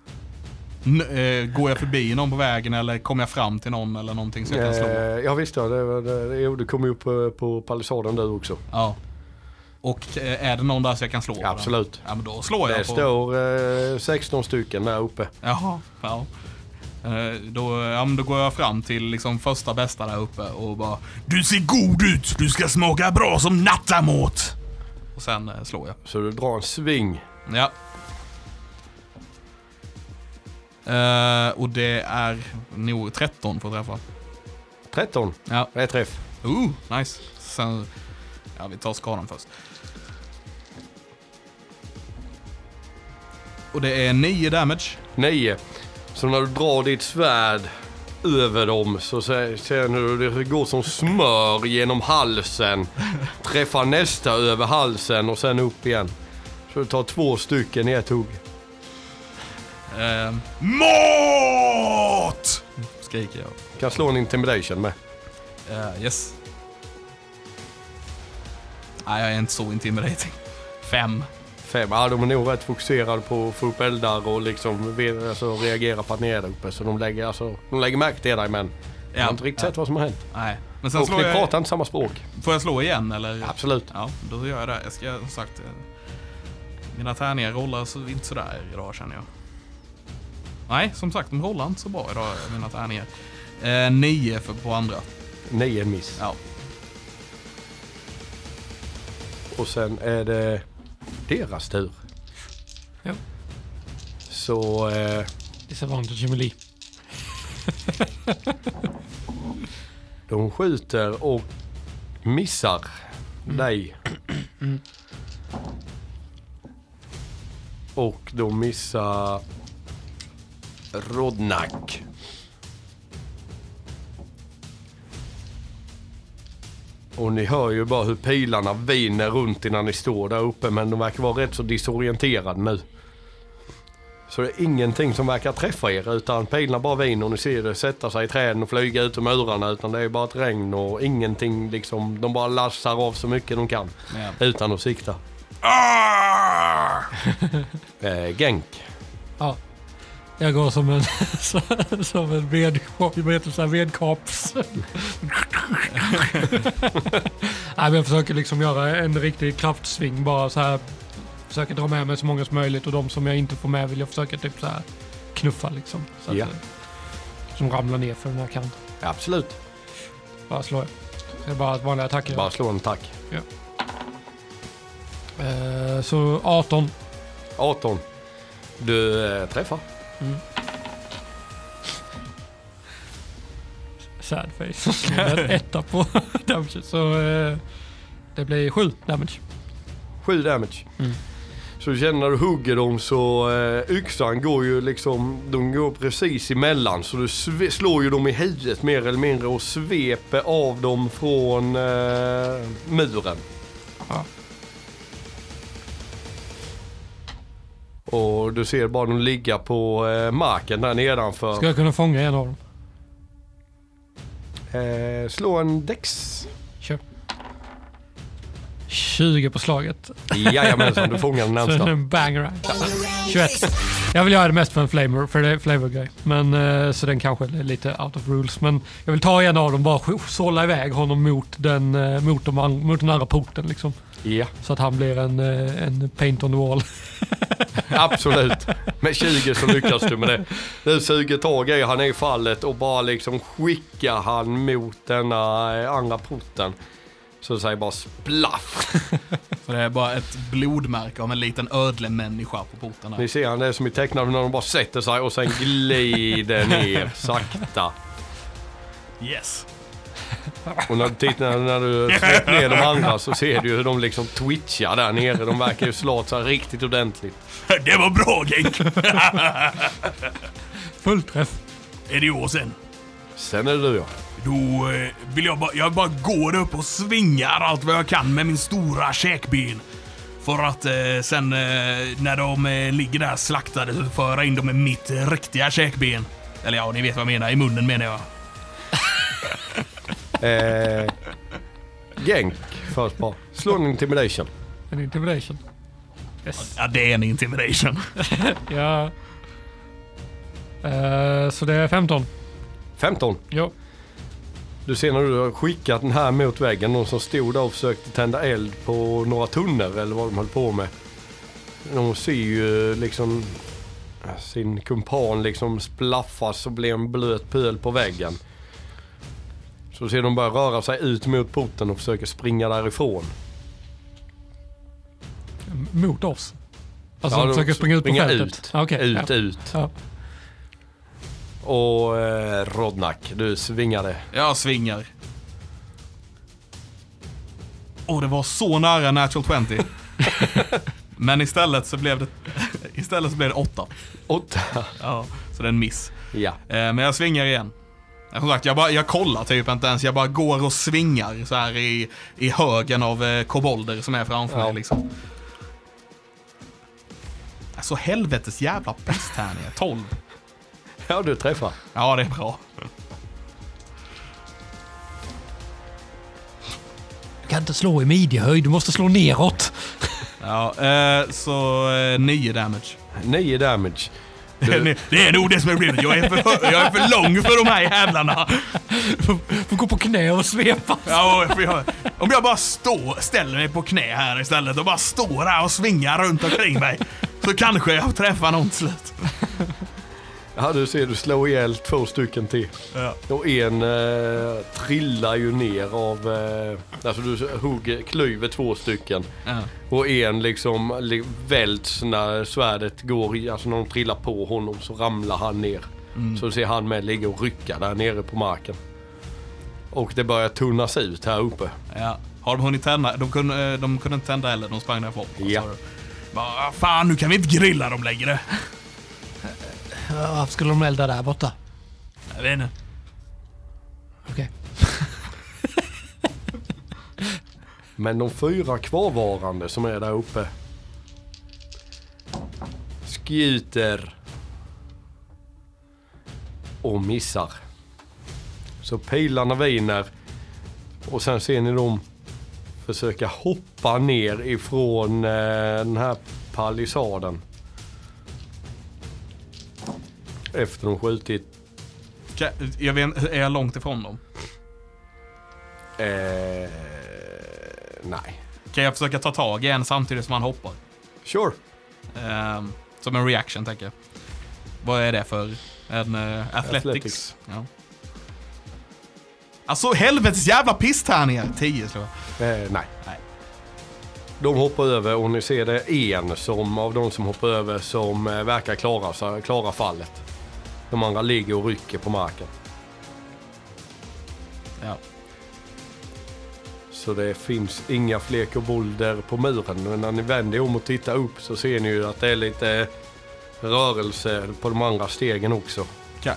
N- eh, går jag förbi någon på vägen eller kommer jag fram till någon eller någonting så jag kan slå? Eh, ja visst ja, det, var- det, jo, du kom ju upp eh, på palissaden du också. Ja. Och eh, är det någon där så jag kan slå? på den? Absolut. Ja, men då slår jag Det på... står eh, 16 stycken där uppe. Jaha, ja. Eh, Då, ja, men då går jag fram till liksom första bästa där uppe och bara Du ser god ut! Du ska smaka bra som nattamat! Och sen eh, slår jag. Så du drar en sving. Ja. Eh, och det är nog 13 för att träffa. 13, Ja. det är eh, träff. Ooh, nice. Sen, ja vi tar skadan först. Och det är 9 damage. 9. Så när du drar ditt svärd över dem så se- känner du det går som smör genom halsen. Träffar nästa över halsen och sen upp igen. Så du tar två stycken i ett hugg. Eh, MAT! Skriker jag. Kan slå en intimidation med. Eh, yes. Nej, jag är inte så intimidating. Fem. Fem. Ja, de är nog rätt fokuserade på att få upp eldar och liksom ve- alltså, reagera på att ni är där uppe. Så de lägger, alltså, de lägger märke till dig men de har inte riktigt sett vad som har hänt. Nej. Men sen Och slår ni jag... pratar inte samma språk. Får jag slå igen eller? Absolut. Ja, då gör jag det. Jag ska som sagt... eh, Mina tärningar rollar så, inte sådär idag känner jag. Nej, som sagt, de rollar inte så bra idag, mina tärningar. Eh, nio för, på andra. Nej, en miss. Ja. Och sen är det deras tur. Ja. Så eh, Disadvantage Emily. de skjuter och missar Mm. dig. Och de missar Rodnak. Och ni hör ju bara hur pilarna viner runt innan ni står där uppe men de verkar vara rätt så disorienterade nu. Så det är ingenting som verkar träffa er utan pilarna bara viner och ni ser det sätta sig i träden och flyga ut ur murarna utan det är bara ett regn och ingenting liksom. De bara lassar av så mycket de kan Ja. utan att sikta. eh, Genk. Ja. Jag går som en, som en ved, vad heter det, så här, vedkaps. Nej, men jag försöker liksom göra en riktig kraftsving bara så här. Försöker dra med mig så många som möjligt och de som jag inte får med vill jag försöka typ så här knuffa liksom. Så att, Ja. eh, Som ramlar ner för den här kanten. Absolut. Bara slår jag. Det är bara vanliga attacker. Bara slå en tack. Eh, så 18. 18. Du eh, träffar. sad face. Med etta på damage. Så eh, det blir sju damage. 7 damage. Mm. Så känner när du hugger dem så eh, yxan går ju liksom, de går precis emellan. Så du sve- slår ju dem i huvudet mer eller mindre och sveper av dem från eh, muren. Ja. Och du ser bara dem ligga på eh, marken där nedanför. Ska jag kunna fånga en av dem? Eh, slå en dex. Kör. 20 på slaget. Jajamensan, du fångar den Så det är närmsta. en banger. 21. Jag vill göra det mest för en flavor, för det är flavor grej. Men eh, Så den kanske är lite out of rules. Men jag vill ta en av dem bara sk- sålla iväg honom mot den, eh, mot de, an- mot den andra porten. Liksom, Ja, så att han blir en, eh, en paint on the wall. absolut. Med 20 så lyckas du med det. Du suger tag i han i fallet och bara liksom skickar han mot denna eh, andra porten. Så säger bara splaff. Så det är bara ett blodmärke av en liten ödlemänniska på porten där. Ni ser han, det är som i tecknaren när de bara sätter sig och sen glider ner sakta. Yes. Och när du tittar när du släpper ner de andra så ser du hur de liksom twitchar där nere. De verkar ju slå åt sig riktigt ordentligt. Det var bra Genk! Fullträff. Är det år sen? Sen är det du ja. Då eh, vill jag bara, jag bara går upp och svingar allt vad jag kan med min stora käkben. För att eh, sen eh, när de eh, ligger där slaktade så får jag in dem i mitt eh, riktiga käkben. Eller ja, ni vet vad jag menar. I munnen menar jag. Eh, Genk först bara. Slå en intimidation. En intimidation. Yes. Ja, det är en intimidation. Ja. Eh, så det är 15. 15. Ja. Du ser när du har skickat den här mot väggen. Någon som stod där och försökte tända eld på några tunnor eller vad de höll på med. De ser ju liksom sin kumpan liksom splaffas och blir en blöt pöl på väggen. Så ser de börja röra sig ut mot porten och försöker springa därifrån. M- Mot oss. Alltså Ja, de de försöker springa ut på springer fältet. ut. Ja, okej. Ut, ja. ut. Ja. Och eh, Rodnak, du svingade. Jag svingar. Och det var så nära natural 20. Men istället så blev det, istället så blev det åtta. Åtta. Ja, så det är en miss. Ja. Eh, Men jag svingar igen. Ja, Som sagt, jag, bara, jag kollar typ inte ens. Jag bara går och svingar så här i, i högen av eh, kobolder som är framför Ja. mig liksom. Alltså helvetes jävla pest här nere. 12. Ja, du träffar. Ja, det är bra. Du kan inte slå i midjehöjd, du måste slå neråt. Ja, eh, så eh, 9 damage. Nio damage. Du, Det är nog det som är problemet. Jag är för, hö- jag är för lång för de här jävlarna. Får gå på knä och svepa. Ja, för jag, om jag bara står, ställer mig på knä här istället och bara står här och svingar runt omkring mig. Så kanske jag träffar någon till slut. ja, du ser, du slår ihjäl två stycken till. Ja. Och en eh, trillar ju ner av... Eh, alltså du hugger, klyver två stycken. Och en liksom li- välts när svärdet går i, alltså när de trillar på honom så ramlar han ner. Så ser han med ligga och rycka där nere på marken. Och det börjar tunnas ut här uppe. Ja. Har de hunnit tända? De kunde, eh, de kunde inte tända heller, de sprang därifrån. Ja. Sa du. Bara, "Ah, fan, nu kan vi inte grilla dem längre. Varför skulle de elda där borta? Jag vet inte. Okej. Men de fyra kvarvarande som är där uppe. Skjuter. Och missar. Så pilarna viner. Och sen ser ni dem försöka hoppa ner ifrån eh, den här palissaden. efter de skjutit. Ka- Jag vet, är jag långt ifrån dem? Eh, nej. Kan jag försöka ta tag i en samtidigt som han hoppar? Sure. Ehm, som en reaction, tänker jag. Vad är det för? En eh, athletics? Athletics. Ja. Alltså helvetes jävla pisstärningar! 10 slår jag. Eh, nej. Nej. De hoppar över och ni ser det är en som, av de som hoppar över som eh, verkar klara, sig- klara fallet. De andra ligger och rycker på marken. Ja. Så det finns inga fler kobolder på muren. Men när ni vänder om och tittar upp så ser ni ju att det är lite rörelse på de andra stegen också. Kan,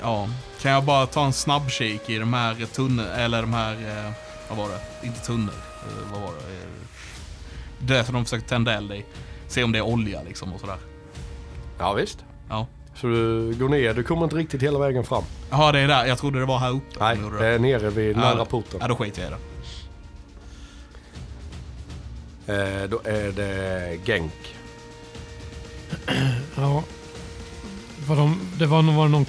ja. kan jag bara ta en snabbkik i de här tunnel... Eller de här... Eh, vad var det? Inte tunnel. Eh, vad var det? Eh, Det som de försökte tända eld i. Se om det är olja liksom och sådär. Ja visst. Ja. Så du går ner, du kommer inte riktigt hela vägen fram. Jaha, det är där. Jag trodde det var här uppe. Nej, de gjorde det det. är nere vid Ja, nära porten. Ja, då skiter jag i det. Eh, då är det Genk. Ja. Var de, det var, nog- var någon...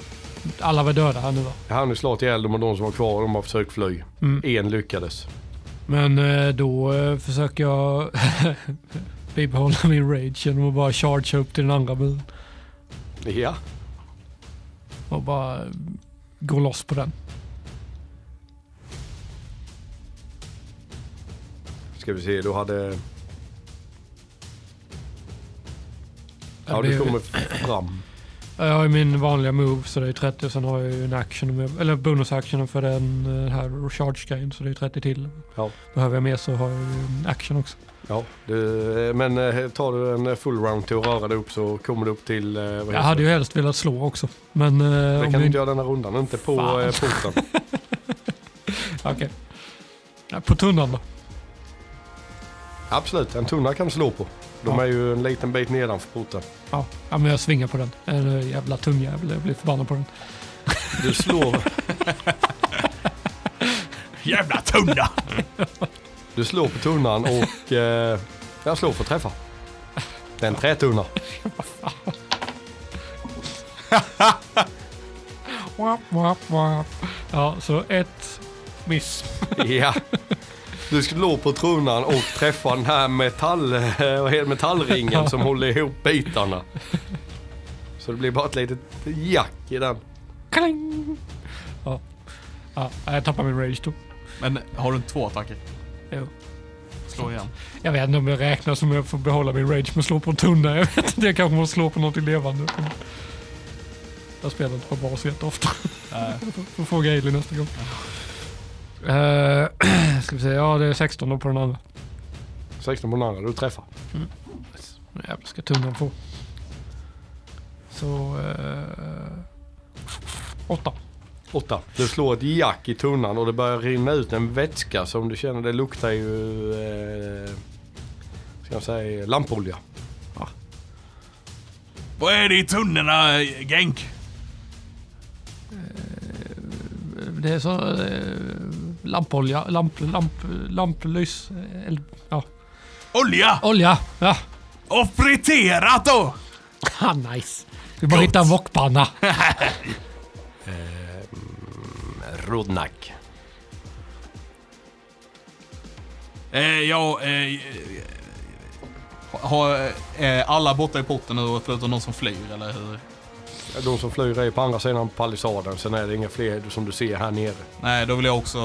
Alla var döda här nu va? Han är slagit ihjäl dem och de som var kvar de har försökt fly. Mm. En lyckades. Men eh, då eh, försöker jag bibehålla min rage genom att bara charge upp till den andra muren Ja. och bara eh, gå loss på den. Ska vi se, du hade... Ja, Det du blir- kommer fram. Ja, Jag har ju min vanliga move så det är 30 och sen har jag ju en action, med, eller bonusactionen för den eh, här charge-grejen så det är 30 till. Ja. Behöver jag mer så har jag ju en action också. Ja, du, men eh, tar du en full round till att röra dig upp så kommer du upp till... eh, Vad heter Jag hade ju det? helst velat slå också. Men eh, Det om kan du vi inte göra denna rundan, inte på Fan. eh, porten. Okej. Ja, På tunnan då. Absolut, en tunna kan du slå på. De Ja. är ju en liten bit nedanför porten. Ja, ja men jag svingar på den. En eh, jävla tungjävel, jag blir förbannad på den. Du slår, Jävla tunna! du slår på tunnan och... Eh, jag slår för att träffa. Det är en trätunna. Wap, wap, wap. Ja, så ett miss. Ja. Du slår på tunnan och träffar den här metall, eh, vad heter, metallringen som håller ihop bitarna. Så det blir bara ett litet jack i den. Kling! Ja. ja, jag tappar min rage då. Men eh, har du inte två attacker? Jo. Slå igen. Jag vet inte om jag räknar som jag får behålla min rage med att slå på en tunna. Jag vet inte, jag kanske måste slå på något levande. Jag spelar inte på bas jätteofta. Nej. Får fråga Ailey nästa gång. Uh, ska vi se, ja det är 16 då på den andra. 16 på den andra, du träffar. Nu jävlar ska tunnan få. Så... eh, åtta. Åtta. Du slår ett jack i tunnan och det börjar rinna ut en vätska som du känner, det luktar ju... Eh, ska jag säga lampolja. Vad är det i tunnorna, eh, Genk? Det är så... eh, lampolja, lamp, lamp, lamplys, eh, eld, ja. Olja! Olja! Ja. Och friterat då! Ha, nice. Vi bara hitta en wokpanna. Rodnack. Eh, ja, eh, har eh, alla borta i potten nu förutom någon som flyr, eller hur? De som flyr är på andra sidan palissaden, sen är det inga fler som du ser här nere. Nej, då vill jag också...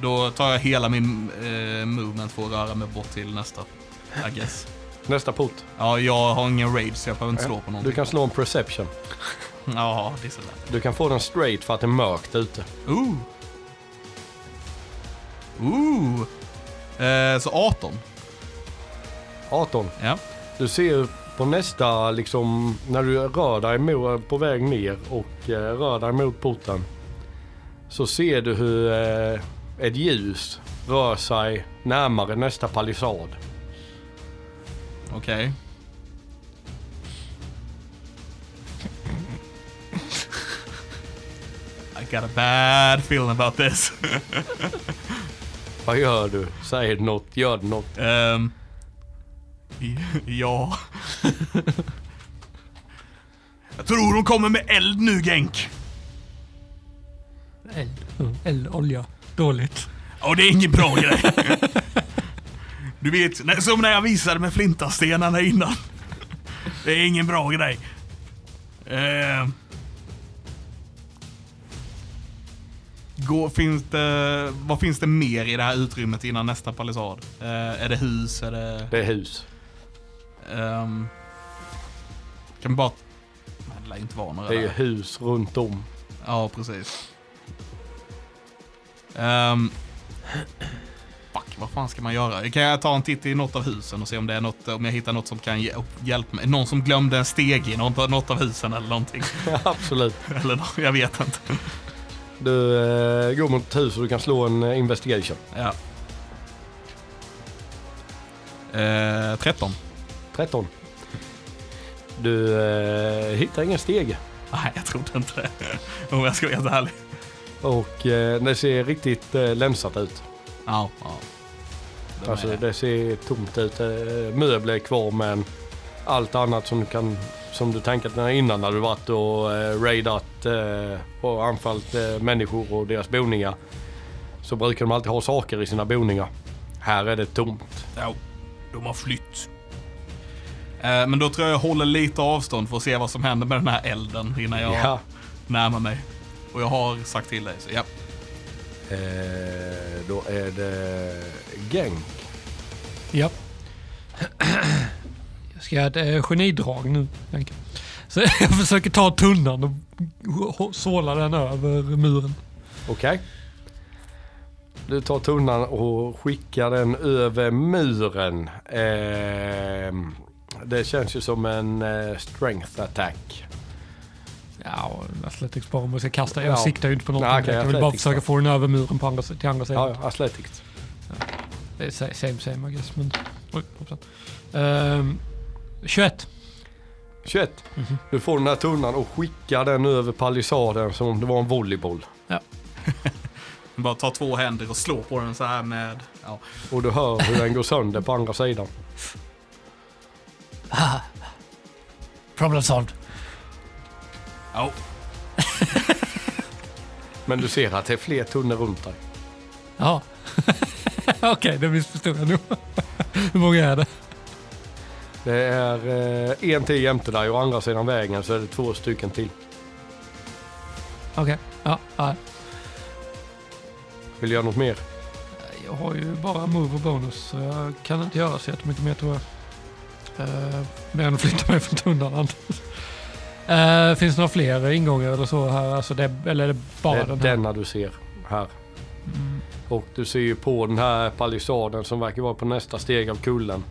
Då tar jag hela min eh, movement för att röra mig bort till nästa. I guess. Nästa port. Ja, jag har ingen rage så jag behöver inte slå på Du någonting. kan slå en perception. Jaha, det är sådär. Du kan få den straight för att det är mörkt ute. Ooh! Ooh! Eh, så 18. 18. Ja. Du ser på nästa, liksom, när du rör dig mot, på väg ner och eh, rör dig mot porten. Så ser du hur eh, ett ljus rör sig närmare nästa palissad. Okej. I got a bad feeling about this. Vad gör du? Säger du något? Gör du något? Ehm, ja. Jag tror hon kommer med eld nu, Genk. Eld. Mm. Eld, olja. Dåligt. Och det är ingen bra grej. Du vet, när- som när jag visade med flintastenarna innan. Det är ingen bra grej. Eh. Gå, finns det, vad finns det mer i det här utrymmet innan nästa palissad? Eh, är det hus? Är det... Det är hus. Ehm, kan vi bara... Nej, det lär inte vara några Det är ju där. hus runt om. Ja, precis. Ehm, fuck, vad fan ska man göra? Kan jag ta en titt i något av husen och se om det är något, om jag hittar något som kan hj- hjälpa mig? Någon som glömde en steg i något, något av husen eller någonting. Absolut. eller nå- jag vet inte. Du eh, går mot ett hus och du kan slå en eh, investigation. Ja. Eh, 13. 13. Du eh, hittar ingen steg. Nej, jag trodde inte det. Om jag ska vara helt ärlig. Och eh, det ser riktigt eh, länsat ut. Ja, ja. De Alltså är- det ser tomt ut. Eh, Möbler är kvar men allt annat som du kan som du tänkat när- innan när du varit och eh, raidat eh, och anfallit eh, människor och deras boningar. Så brukar de alltid ha saker i sina boningar. Här är det tomt. Ja, de har flytt. Eh, men då tror jag jag håller lite avstånd för att se vad som händer med den här elden innan jag Ja. närmar mig. Och jag har sagt till dig, så ja. Eh, då är det Genk. Ja. Jag ska göra ett eh, genidrag nu. Henke. Så jag försöker ta tunnan och h- såla den över muren. Okej. Du tar tunnan och skickar den över muren. Ehm, det känns ju som en eh, strength attack. Ja, och Athletics bara om jag ska kasta. Jag Ja. siktar ju inte på någonting. Nej, okej, jag vill bara athletics försöka då. få den över muren på andra, si- till andra sidan. Ja, ja, athletics. Det är sa- same same I guess. Men... Oj, hoppsan. Ehm, 21. 21. Du får den här tunnan och skickar den över palissaden som om det var en volleyboll. Bara ta två händer och slå på den så här med... Ja. Och du hör hur den går sönder på andra sidan. Problem solved. ja. Men du ser att det är fler tunnor runt dig. Ja. Okej, det missförstod jag nog. Hur många är det? Det är eh, en till jämte dig och andra sidan vägen så är det två stycken till. Okej. Ja, ja. Vill du göra något mer? Jag har ju bara move och bonus så jag kan inte göra så jättemycket mer tror jag. Eh, mer än att flytta mig från tunnan. Eh, finns det några fler ingångar eller så här? Alltså det, eller är det bara det är den här? denna du ser här. Och du ser ju på den här palissaden som verkar vara på nästa steg av kullen.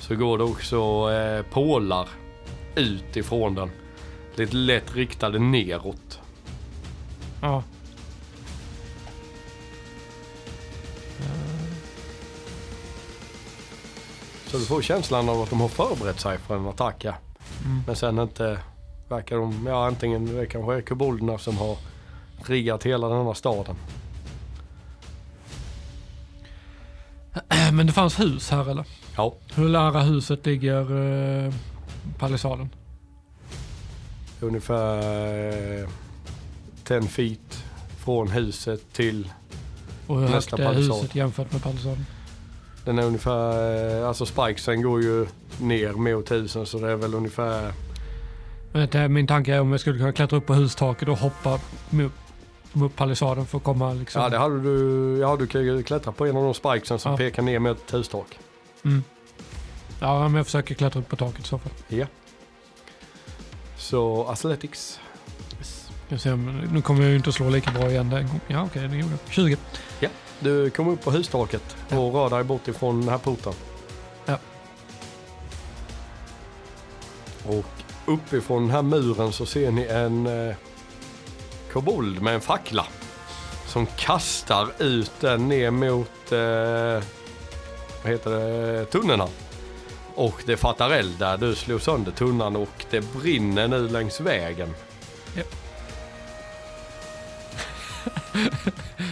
Så går det också eh, pålar ut ifrån den. Lite lätt riktade neråt. Ja. Eh. Så du får känslan av att de har förberett sig för en attack ja. Men sen inte verkar de, ja antingen det kanske är kobolderna som har riggat hela den här staden. Eh, Men det fanns hus här eller? Ja, Hur nära huset ligger eh, palissaden? ungefär eh, 10 feet från huset till Och hur högt Nästa är palissad. huset jämfört med palissaden? Den är ungefär, eh, alltså spikesen går ju ner mot husen så det är väl ungefär, Vet du, Min tanke är om jag skulle kunna klättra upp på hustaket och hoppa mot, mot palissaden för att komma liksom. ja det hade du, ja du kan ju klättra på en av de spikesen som Ja. pekar ner mot ett hustak. ja, men jag försöker klättra upp på taket i så fall. Ja. Så athletics. Ska se om, nu kommer jag ju inte att slå lika bra igen den gången. Ja, okej, det gjorde jag. 20. Du kommer upp på hustaket och rör dig bort ifrån den här porten. Ja. Och uppifrån den här muren så ser ni en eh, kobold med en fackla. Som kastar ut den ner mot, eh, vad heter det, tunnorna. Och det fattar eld där. Du slår sönder tunnan och det brinner nu längs vägen.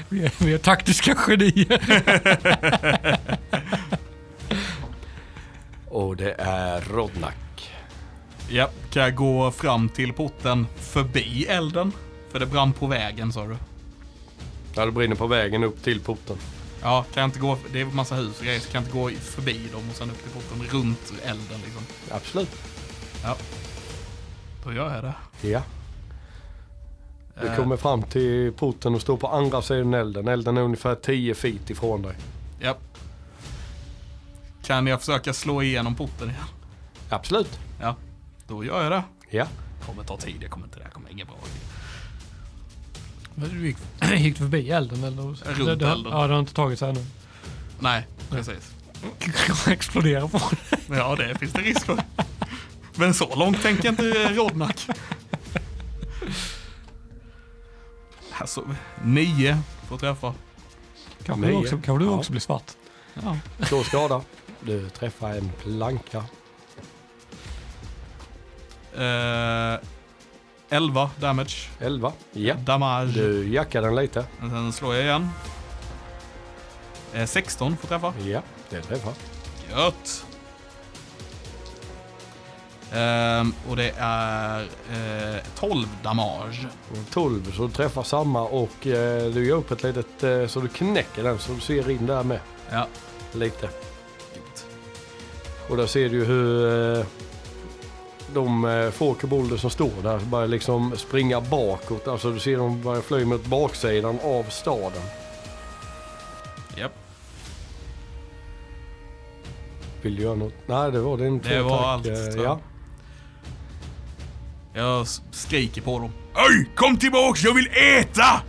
Vi är, vi är taktiska genier. Äh, Och det är Rodnak. Ja, kan jag gå fram till porten förbi elden? För det brann på vägen sa du. Ja, det brinner på vägen upp till porten. Ja, kan jag inte gå, det är massa hus och grejer, så kan jag inte gå förbi dem och sen upp till porten runt elden liksom. Absolut. Då gör jag det. Ja. Du Eh, kommer fram till porten och står på andra sidan elden. Elden är ungefär 10 feet ifrån dig. Ja. Kan jag försöka slå igenom porten igen? Absolut. Ja, då gör jag det. Ja. Kommer ta tid, jag kommer inte, det här kommer inget bra. Men Du gick, gick du förbi elden eller? Runt Det- det har- elden. Ja, det har inte tagit sig ännu. Nej, precis. Explodera på den. Ja, det finns det risk för. Men så långt tänker inte eh, Rodnak. Alltså, nio får träffa. Kanske du Nej. också, kanske du Ja. också blir svart. Ja. Slå skada. Du träffar en planka. Eh, 11 damage. 11. Ja. Damage. Du jackar den lite. Och Sen slår jag igen. Eh, 16 får träffa. Ja, det träffar. Gött! Ehm, och det är eh, 12 damage. 12 så du träffar samma och eh, du gör upp ett litet eh, så du knäcker den så du ser in där med Ja. lite. Och där ser du ju hur eh, de eh, fårkobolder som står där börjar liksom springa bakåt. Alltså du ser dem börja fly mot baksidan av staden. Japp. Vill du göra något? Nej, det var din Det två var attack, allt, eh, tror jag. Ja. Jag s- skriker på dem. Oj, kom tillbaks, jag vill äta!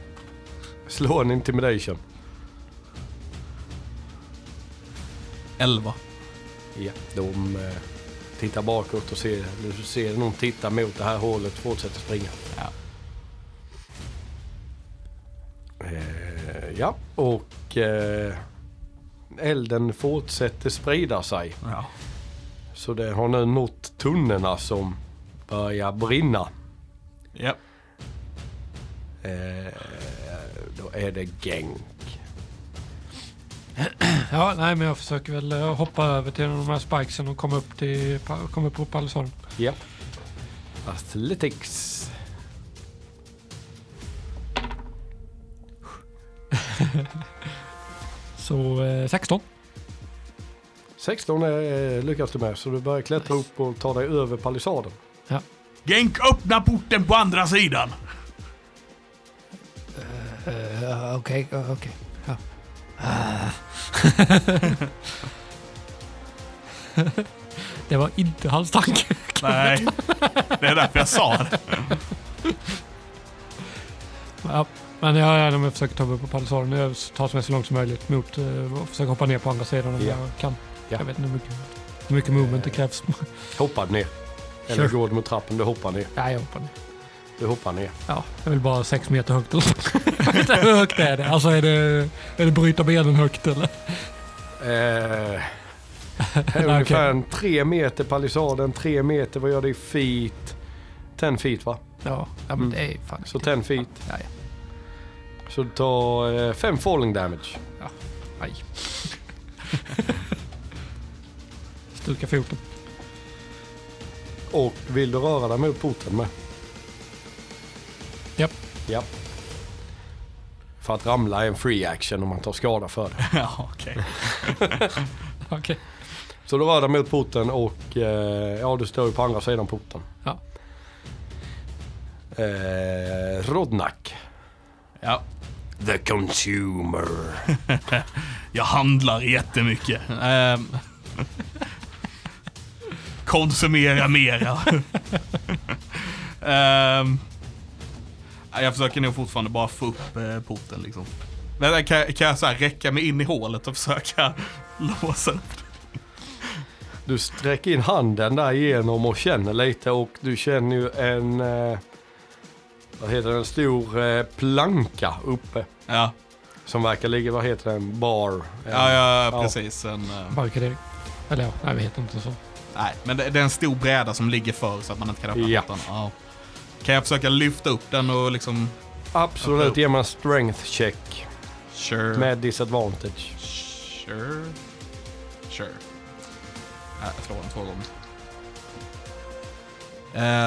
Slå en intimidation. 11. Ja, de eh, tittar bakåt och ser, du ser någon titta mot det här hålet och fortsätter springa. Ja. Eh, ja, och eh, elden fortsätter sprida sig. Ja. Så det har nu nått tunnorna som börjar brinna. Japp. Eh, då är det Genk. Ja, nej, men jag försöker väl eh, hoppa över till de här spikesen och komma upp, till, pa- komma upp på palisaden. Ja. Athletics. Så eh, 16. 16 eh, lyckas du med så du börjar klättra upp och ta dig över palissaden. Genk, öppna porten på andra sidan! Eh, Okej, okej. Det var inte hans tanke. Nej, det är därför jag sa det. Ja, men jag, jag, jag försöker ta mig upp på palisaden. Jag tar mig så långt som möjligt mot eh, och försöker hoppa ner på andra sidan om Ja. jag kan. Ja. Jag vet inte hur mycket, hur mycket movement det krävs. Hoppar ner. Eller Sure. går du mot trappen, du hoppar ner. Nej, jag hoppar ner. Du hoppar ner. Ja, jag vill bara sex meter högt. eller så. Jag vet inte hur högt är det? Alltså är det, är det bryta benen högt eller? Eh, här är Okej. ungefär en tre meter palissaden, tre meter, vad gör det i feet? 10 feet va? Ja, ja Mm. men det är fan Så 10 feet. Ja, ja. Så du tar 5 falling damage. Aj. Stuka foten. Och vill du röra dig mot porten med? Japp. Japp. För att ramla är en free action om man tar skada för det. Ja, okej. Okej. Så du rör dig mot porten och eh, ja, du står ju på andra sidan porten. Ja. Eh, Rodnak. Ja. The consumer. Jag handlar jättemycket. Ehm. Konsumera mera. Ehm. Nej, Jag försöker nog fortfarande bara få upp eh, porten liksom. Men eh, kan, jag- kan jag så här räcka mig in i hålet och försöka låsa upp? Du sträcker in handen där igenom och känner lite och du känner ju en, eh, vad heter det, en stor eh, planka uppe. Ja, Som verkar ligga, vad heter den, bar? ja, ja Ja. precis. En, eh, Barrikadering. Eller ja, nej, vi heter inte så. nej, men det, det är en stor bräda som ligger för så att man inte kan öppna Ja. porten. Ja. Kan jag försöka lyfta upp den och liksom... Absolut, ge mig en strength check Sure. med disadvantage. Sure. Äh, Sure. Nej, jag slår den två gånger.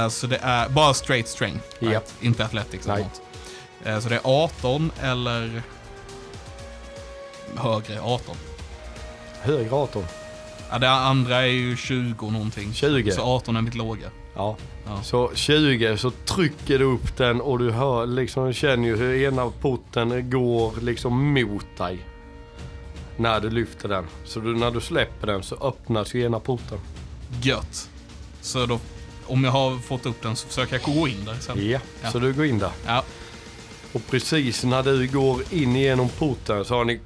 Eh, så det är bara straight strength. Japp. right? Inte athletics eller Nej. något. Eh, så det är 18 eller högre 18. Högre 18. Ja, det andra är ju 20 någonting. 20. Så 18 är mitt låga. Ja. Ja. Så 20 så trycker du upp den och du hör liksom, du känner ju hur ena porten går liksom mot dig. När du lyfter den. Så du, när du släpper den så öppnas ju ena porten. Gött. Så då, om jag har fått upp den så försöker jag gå in där sen. Ja. Så du går in där. Ja. Och precis när du går in genom porten så har ni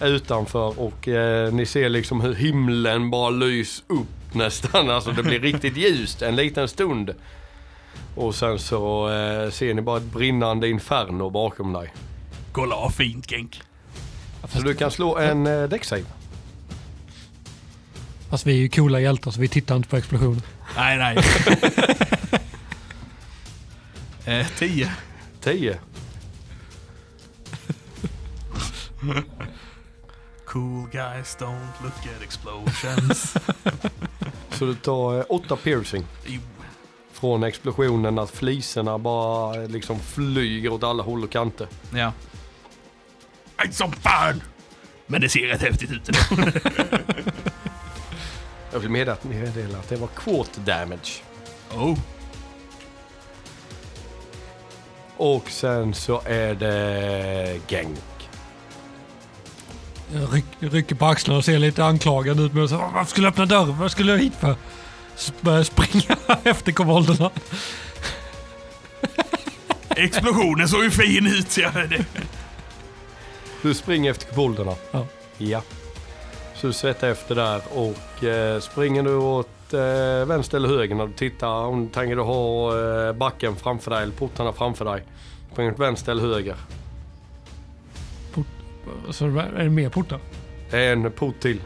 utanför och eh, ni ser liksom hur himlen bara lys upp nästan. Alltså det blir riktigt ljust en liten stund. Och sen så eh, ser ni bara ett brinnande inferno bakom dig. Kolla vad fint Genk. Så du kan slå en eh, däcksave. Fast vi är ju coola hjältar så vi tittar inte på explosionen. Nej, nej. eh, 10. 10. Cool guys don't look at explosions. Så du tar eh, 8 piercing. Jo. Från explosionen att fliserna bara eh, liksom flyger åt alla håll och kanter. ja. Aj som fan! Men det ser rätt häftigt ut ändå. Jag vill meddela att- meddela att det var quarter damage. Oh. Och sen så är det Genk. Jag ryck, rycker på axlarna och ser lite anklagande ut. Men jag säger, "Åh, varför skulle jag öppna dörren? Vad skulle jag hit för? S- Börjar springa efter kobolderna. Explosionen såg ju fin ut. Så jag Du springer efter kobolderna. Ja. ja. Så du svettar efter där och eh, springer du åt eh, vänster eller höger när du tittar. Om du tänker du ha eh, backen framför dig eller portarna framför dig. Springer du åt vänster eller höger. Så är det mer portar? Det är en port till.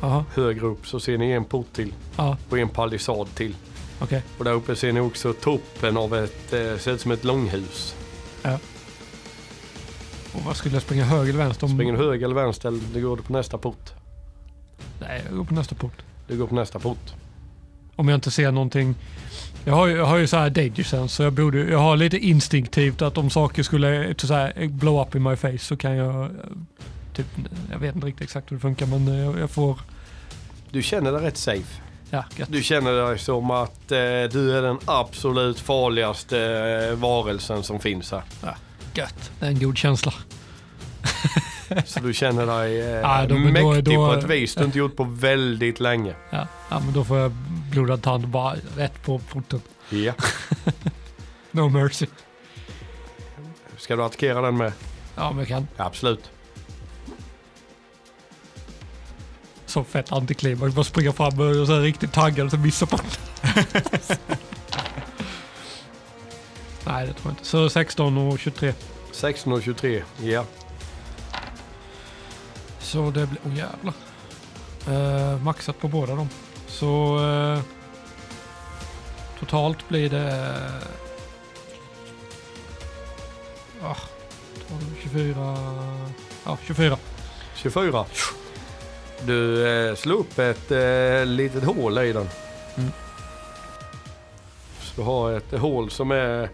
Jaha, Högre upp så ser ni en port till ja, och en palissad till. okej. Och där uppe ser ni också toppen av ett, eh, ser ut som ett långhus. Och vad skulle jag springa höger eller vänster? Om... Springer du höger eller vänster eller du går du på nästa port. Nej, jag går på nästa port. Du går på nästa port. Om jag inte ser någonting. Jag har ju, jag har ju så här danger sense, så jag, borde, jag har lite instinktivt att om saker skulle typ så här, blow up in my face så kan jag... eh, Typ, jag vet inte riktigt exakt hur det funkar men eh, jag, jag får... Du känner dig rätt safe. Ja, gött. Du känner dig som att eh, du är den absolut farligaste eh, varelsen som finns här. gött. Det är en god känsla. Så du känner dig eh, Ja, då- men mäktig då- då- på ett vis du inte gjort på väldigt länge. Ja, ja men då får jag blodad tand bara rätt på porten. Ja. No mercy. Ska du attackera den med? Ja, men jag kan. Absolut. Så fett antiklimax. Bara springa fram och så här riktigt taggad och så missar porten. Nej, det tror jag inte. Så 16 och 23. 16 och 23. Ja. Så det blir... Åh jävlar. Eh, maxat på båda dem. Så... eh, totalt blir det... eh, Ah, 12, 24... Ja, 24. 24. Du eh, slår upp ett eh, litet hål i den. Mm. Så du har ett hål som är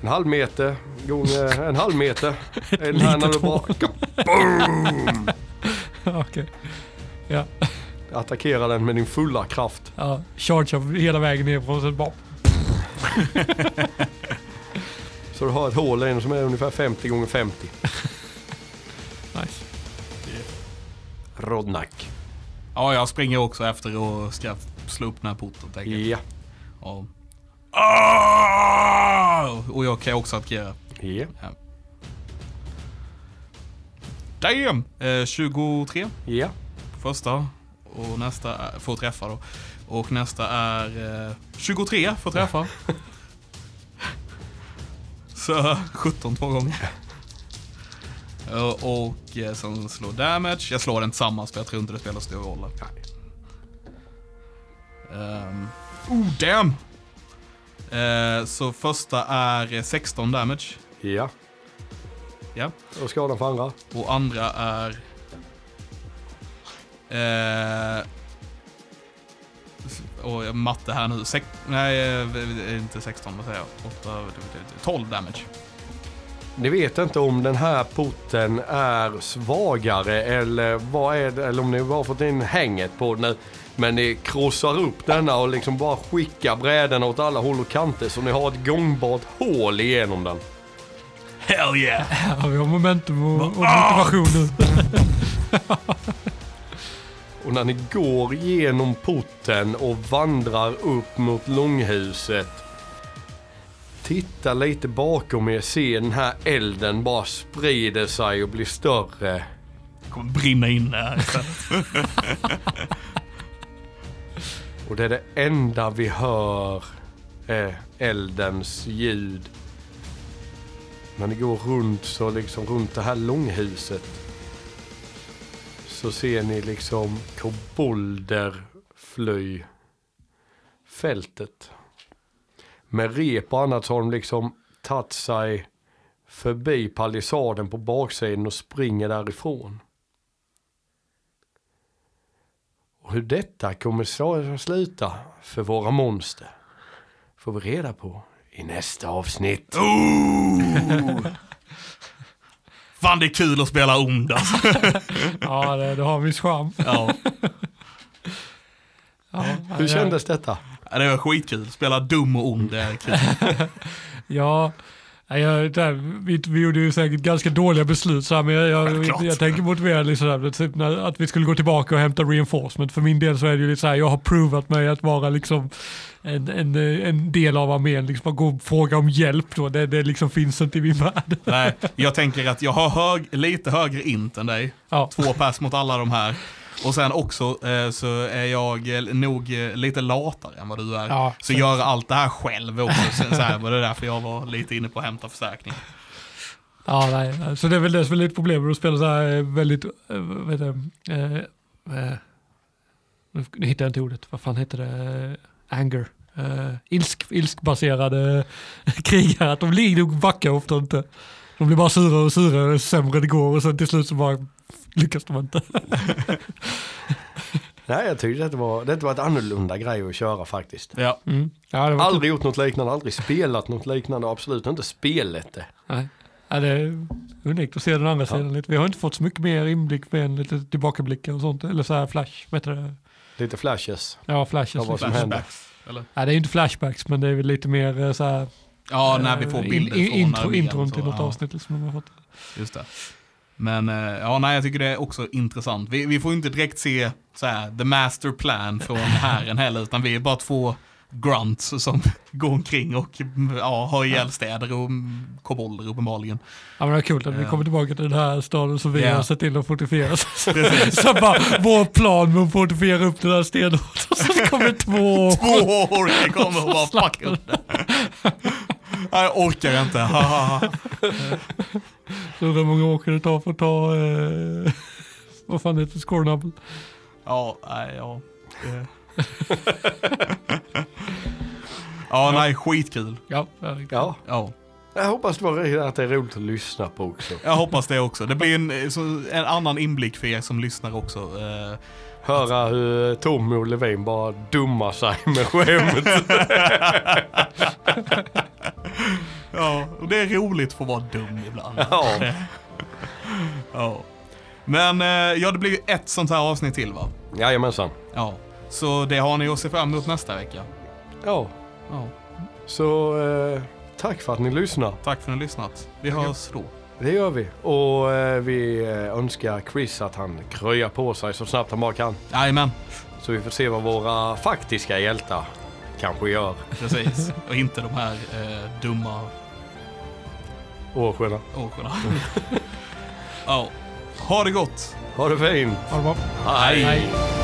en halv meter gånger en halv meter. Den här när du litet bara hål. Okej. attackerar den med din fulla kraft. Ja, charge up hela vägen ner från sen bara... Så du har ett hål i den som är ungefär 50 gånger 50. Nice. Rodnack. Ja, jag springer också efter och ska slå upp den här porten. tänker jag. Ja. Ja. Ah! Och jag kan också attackera. Ja. Damn! Eh, 23 Ja. på första. Och nästa är, får träffa då. Och nästa är eh, 23 får träffa. Så 17 två gånger. Eh, Och eh, sen slår damage. Jag slår den tillsammans för jag tror inte det spelar stor roll. Um, oh damn! Eh, så första är eh, 16 damage. Ja. Ja. Och skadan för andra. Och andra är... Eh, och matte här nu. Sek, nej, eh, inte 16, vad säger jag? 8, 12 damage. Ni vet inte om den här porten är svagare eller vad är det, eller om ni bara fått in hänget på den nu. Men ni krossar upp denna och liksom bara skickar brädorna åt alla håll och kanter så ni har ett gångbart hål igenom den. Hell yeah! Ja, vi har momentum och, och motivation nu. Och när ni går genom porten och vandrar upp mot långhuset. Titta lite bakom er, se den här elden bara sprider sig och blir större. Kommer brinna inne här. Och det är det enda vi hör är eldens ljud. När ni går runt så liksom runt det här långhuset så ser ni liksom kobolder fly fältet. Med rep och annat så har de liksom tagit sig förbi palissaden på baksidan och springer därifrån. Och hur detta kommer sl- sluta för våra monster får vi reda på i nästa avsnitt. Ooh! Fan det är kul att spela ond alltså. Ja, det, det har vi charm. ja. Ja, nej, Hur det- kändes detta? Det var skitkul. Spela dum och ond, det är kul. Ja, nej, jag, det här, vi, vi gjorde ju säkert ganska dåliga beslut så här, men jag, Självklart. jag, jag tänker motivera lite sådär, typ när, att vi skulle gå tillbaka och hämta reinforcement. För min del så är det ju lite så här, jag har provat mig att vara liksom en, en, eh, en del av armén, liksom att gå och fråga om hjälp då, det, det liksom finns inte i min värld. Nej, jag tänker att jag har hög, lite högre int än dig. Ja, Två pers mot alla de här. Och sen också eh, så är jag eh, nog eh, lite latare än vad du är. Ja, så gör allt det här själv också. Sen så här, var det därför jag var lite inne på att hämta förstärkning. ja nej, nej, så det är väl det som är lite problemet att spela så här eh, väldigt, eh, vad heter det, eh, eh, nu- nu hittar jag inte ordet, vad fan heter det, Eh, anger. Eh, ilsk, ilskbaserade eh, krigare, att de ligger och backar ofta inte. De blir bara surare och surare ju sämre det går och sen till slut så bara lyckas de inte. Nej, jag tyckte det var, det var ett annorlunda grej att köra faktiskt. Ja. Mm. Ja, det var Aldrig gjort något liknande, aldrig spelat något liknande, absolut inte spelet det. Nej. Ja, det är unikt att se den andra sidan lite. Vi har inte fått så mycket mer inblick med en lite tillbakablickar och sånt. Eller så här flash, vad heter det? Lite flashes. Ja, flashes. Ja, vad som liksom. händer. Flashbacks. Eller? Ja, det är ju inte flashbacks, men det är väl lite mer eh, så här... Ja, när vi får eh, bilder in, från intro, armén och Intron så, till något ja. avsnitt liksom, de har fått. Just det. Men eh, ja, nej, jag tycker det är också intressant. Vi, vi får ju inte direkt se så här, the master plan från herren heller, utan vi är bara två grunts som går omkring och mm, ja, har ihjäl städer och mm, kobolder uppenbarligen. Ja, men det är kul att vi Ja. kommer tillbaka till den här staden som vi Ja. har sett till att fortifiera. Så, så bara, vår plan med att fortifiera upp den här stenhårt. Och så kommer två... Två orkar kommer och bara fucka upp det. Nej, jag orkar inte. Ha, ha, ha. Så hur många åker det tar för att ta... Eh, vad fan heter Scornable? Ja, nej, ja. Det- Ja, nej, skitkul. Ja, det är riktigt. Ja, Ja. jag hoppas det var, att det är roligt att lyssna på också. Jag hoppas det också. Det blir en, så- en annan inblick för er som lyssnar också. Eh, Höra hur Tommy och Levin bara dummar sig med skämt. Ja, och det är roligt för att vara dum ibland. Ja. Ja. Men eh, ja, det blir ju ett sånt här avsnitt till va? Jajamensan. Ja. Så det har ni att se fram emot nästa vecka. Ja, Ja. så eh, tack för att ni lyssnar. Tack för att ni har lyssnat. Vi hörs då. Det gör vi. Och eh, vi eh, önskar Chris att han kröjar på sig så snabbt han bara kan. Jajamän, Så vi får se vad våra faktiska hjältar kanske gör. precis. Och inte de här eh, dumma Åsjöna. åkorna. ja. Ha det gott! Ha det fint. Ha det bra. Hej. Hej.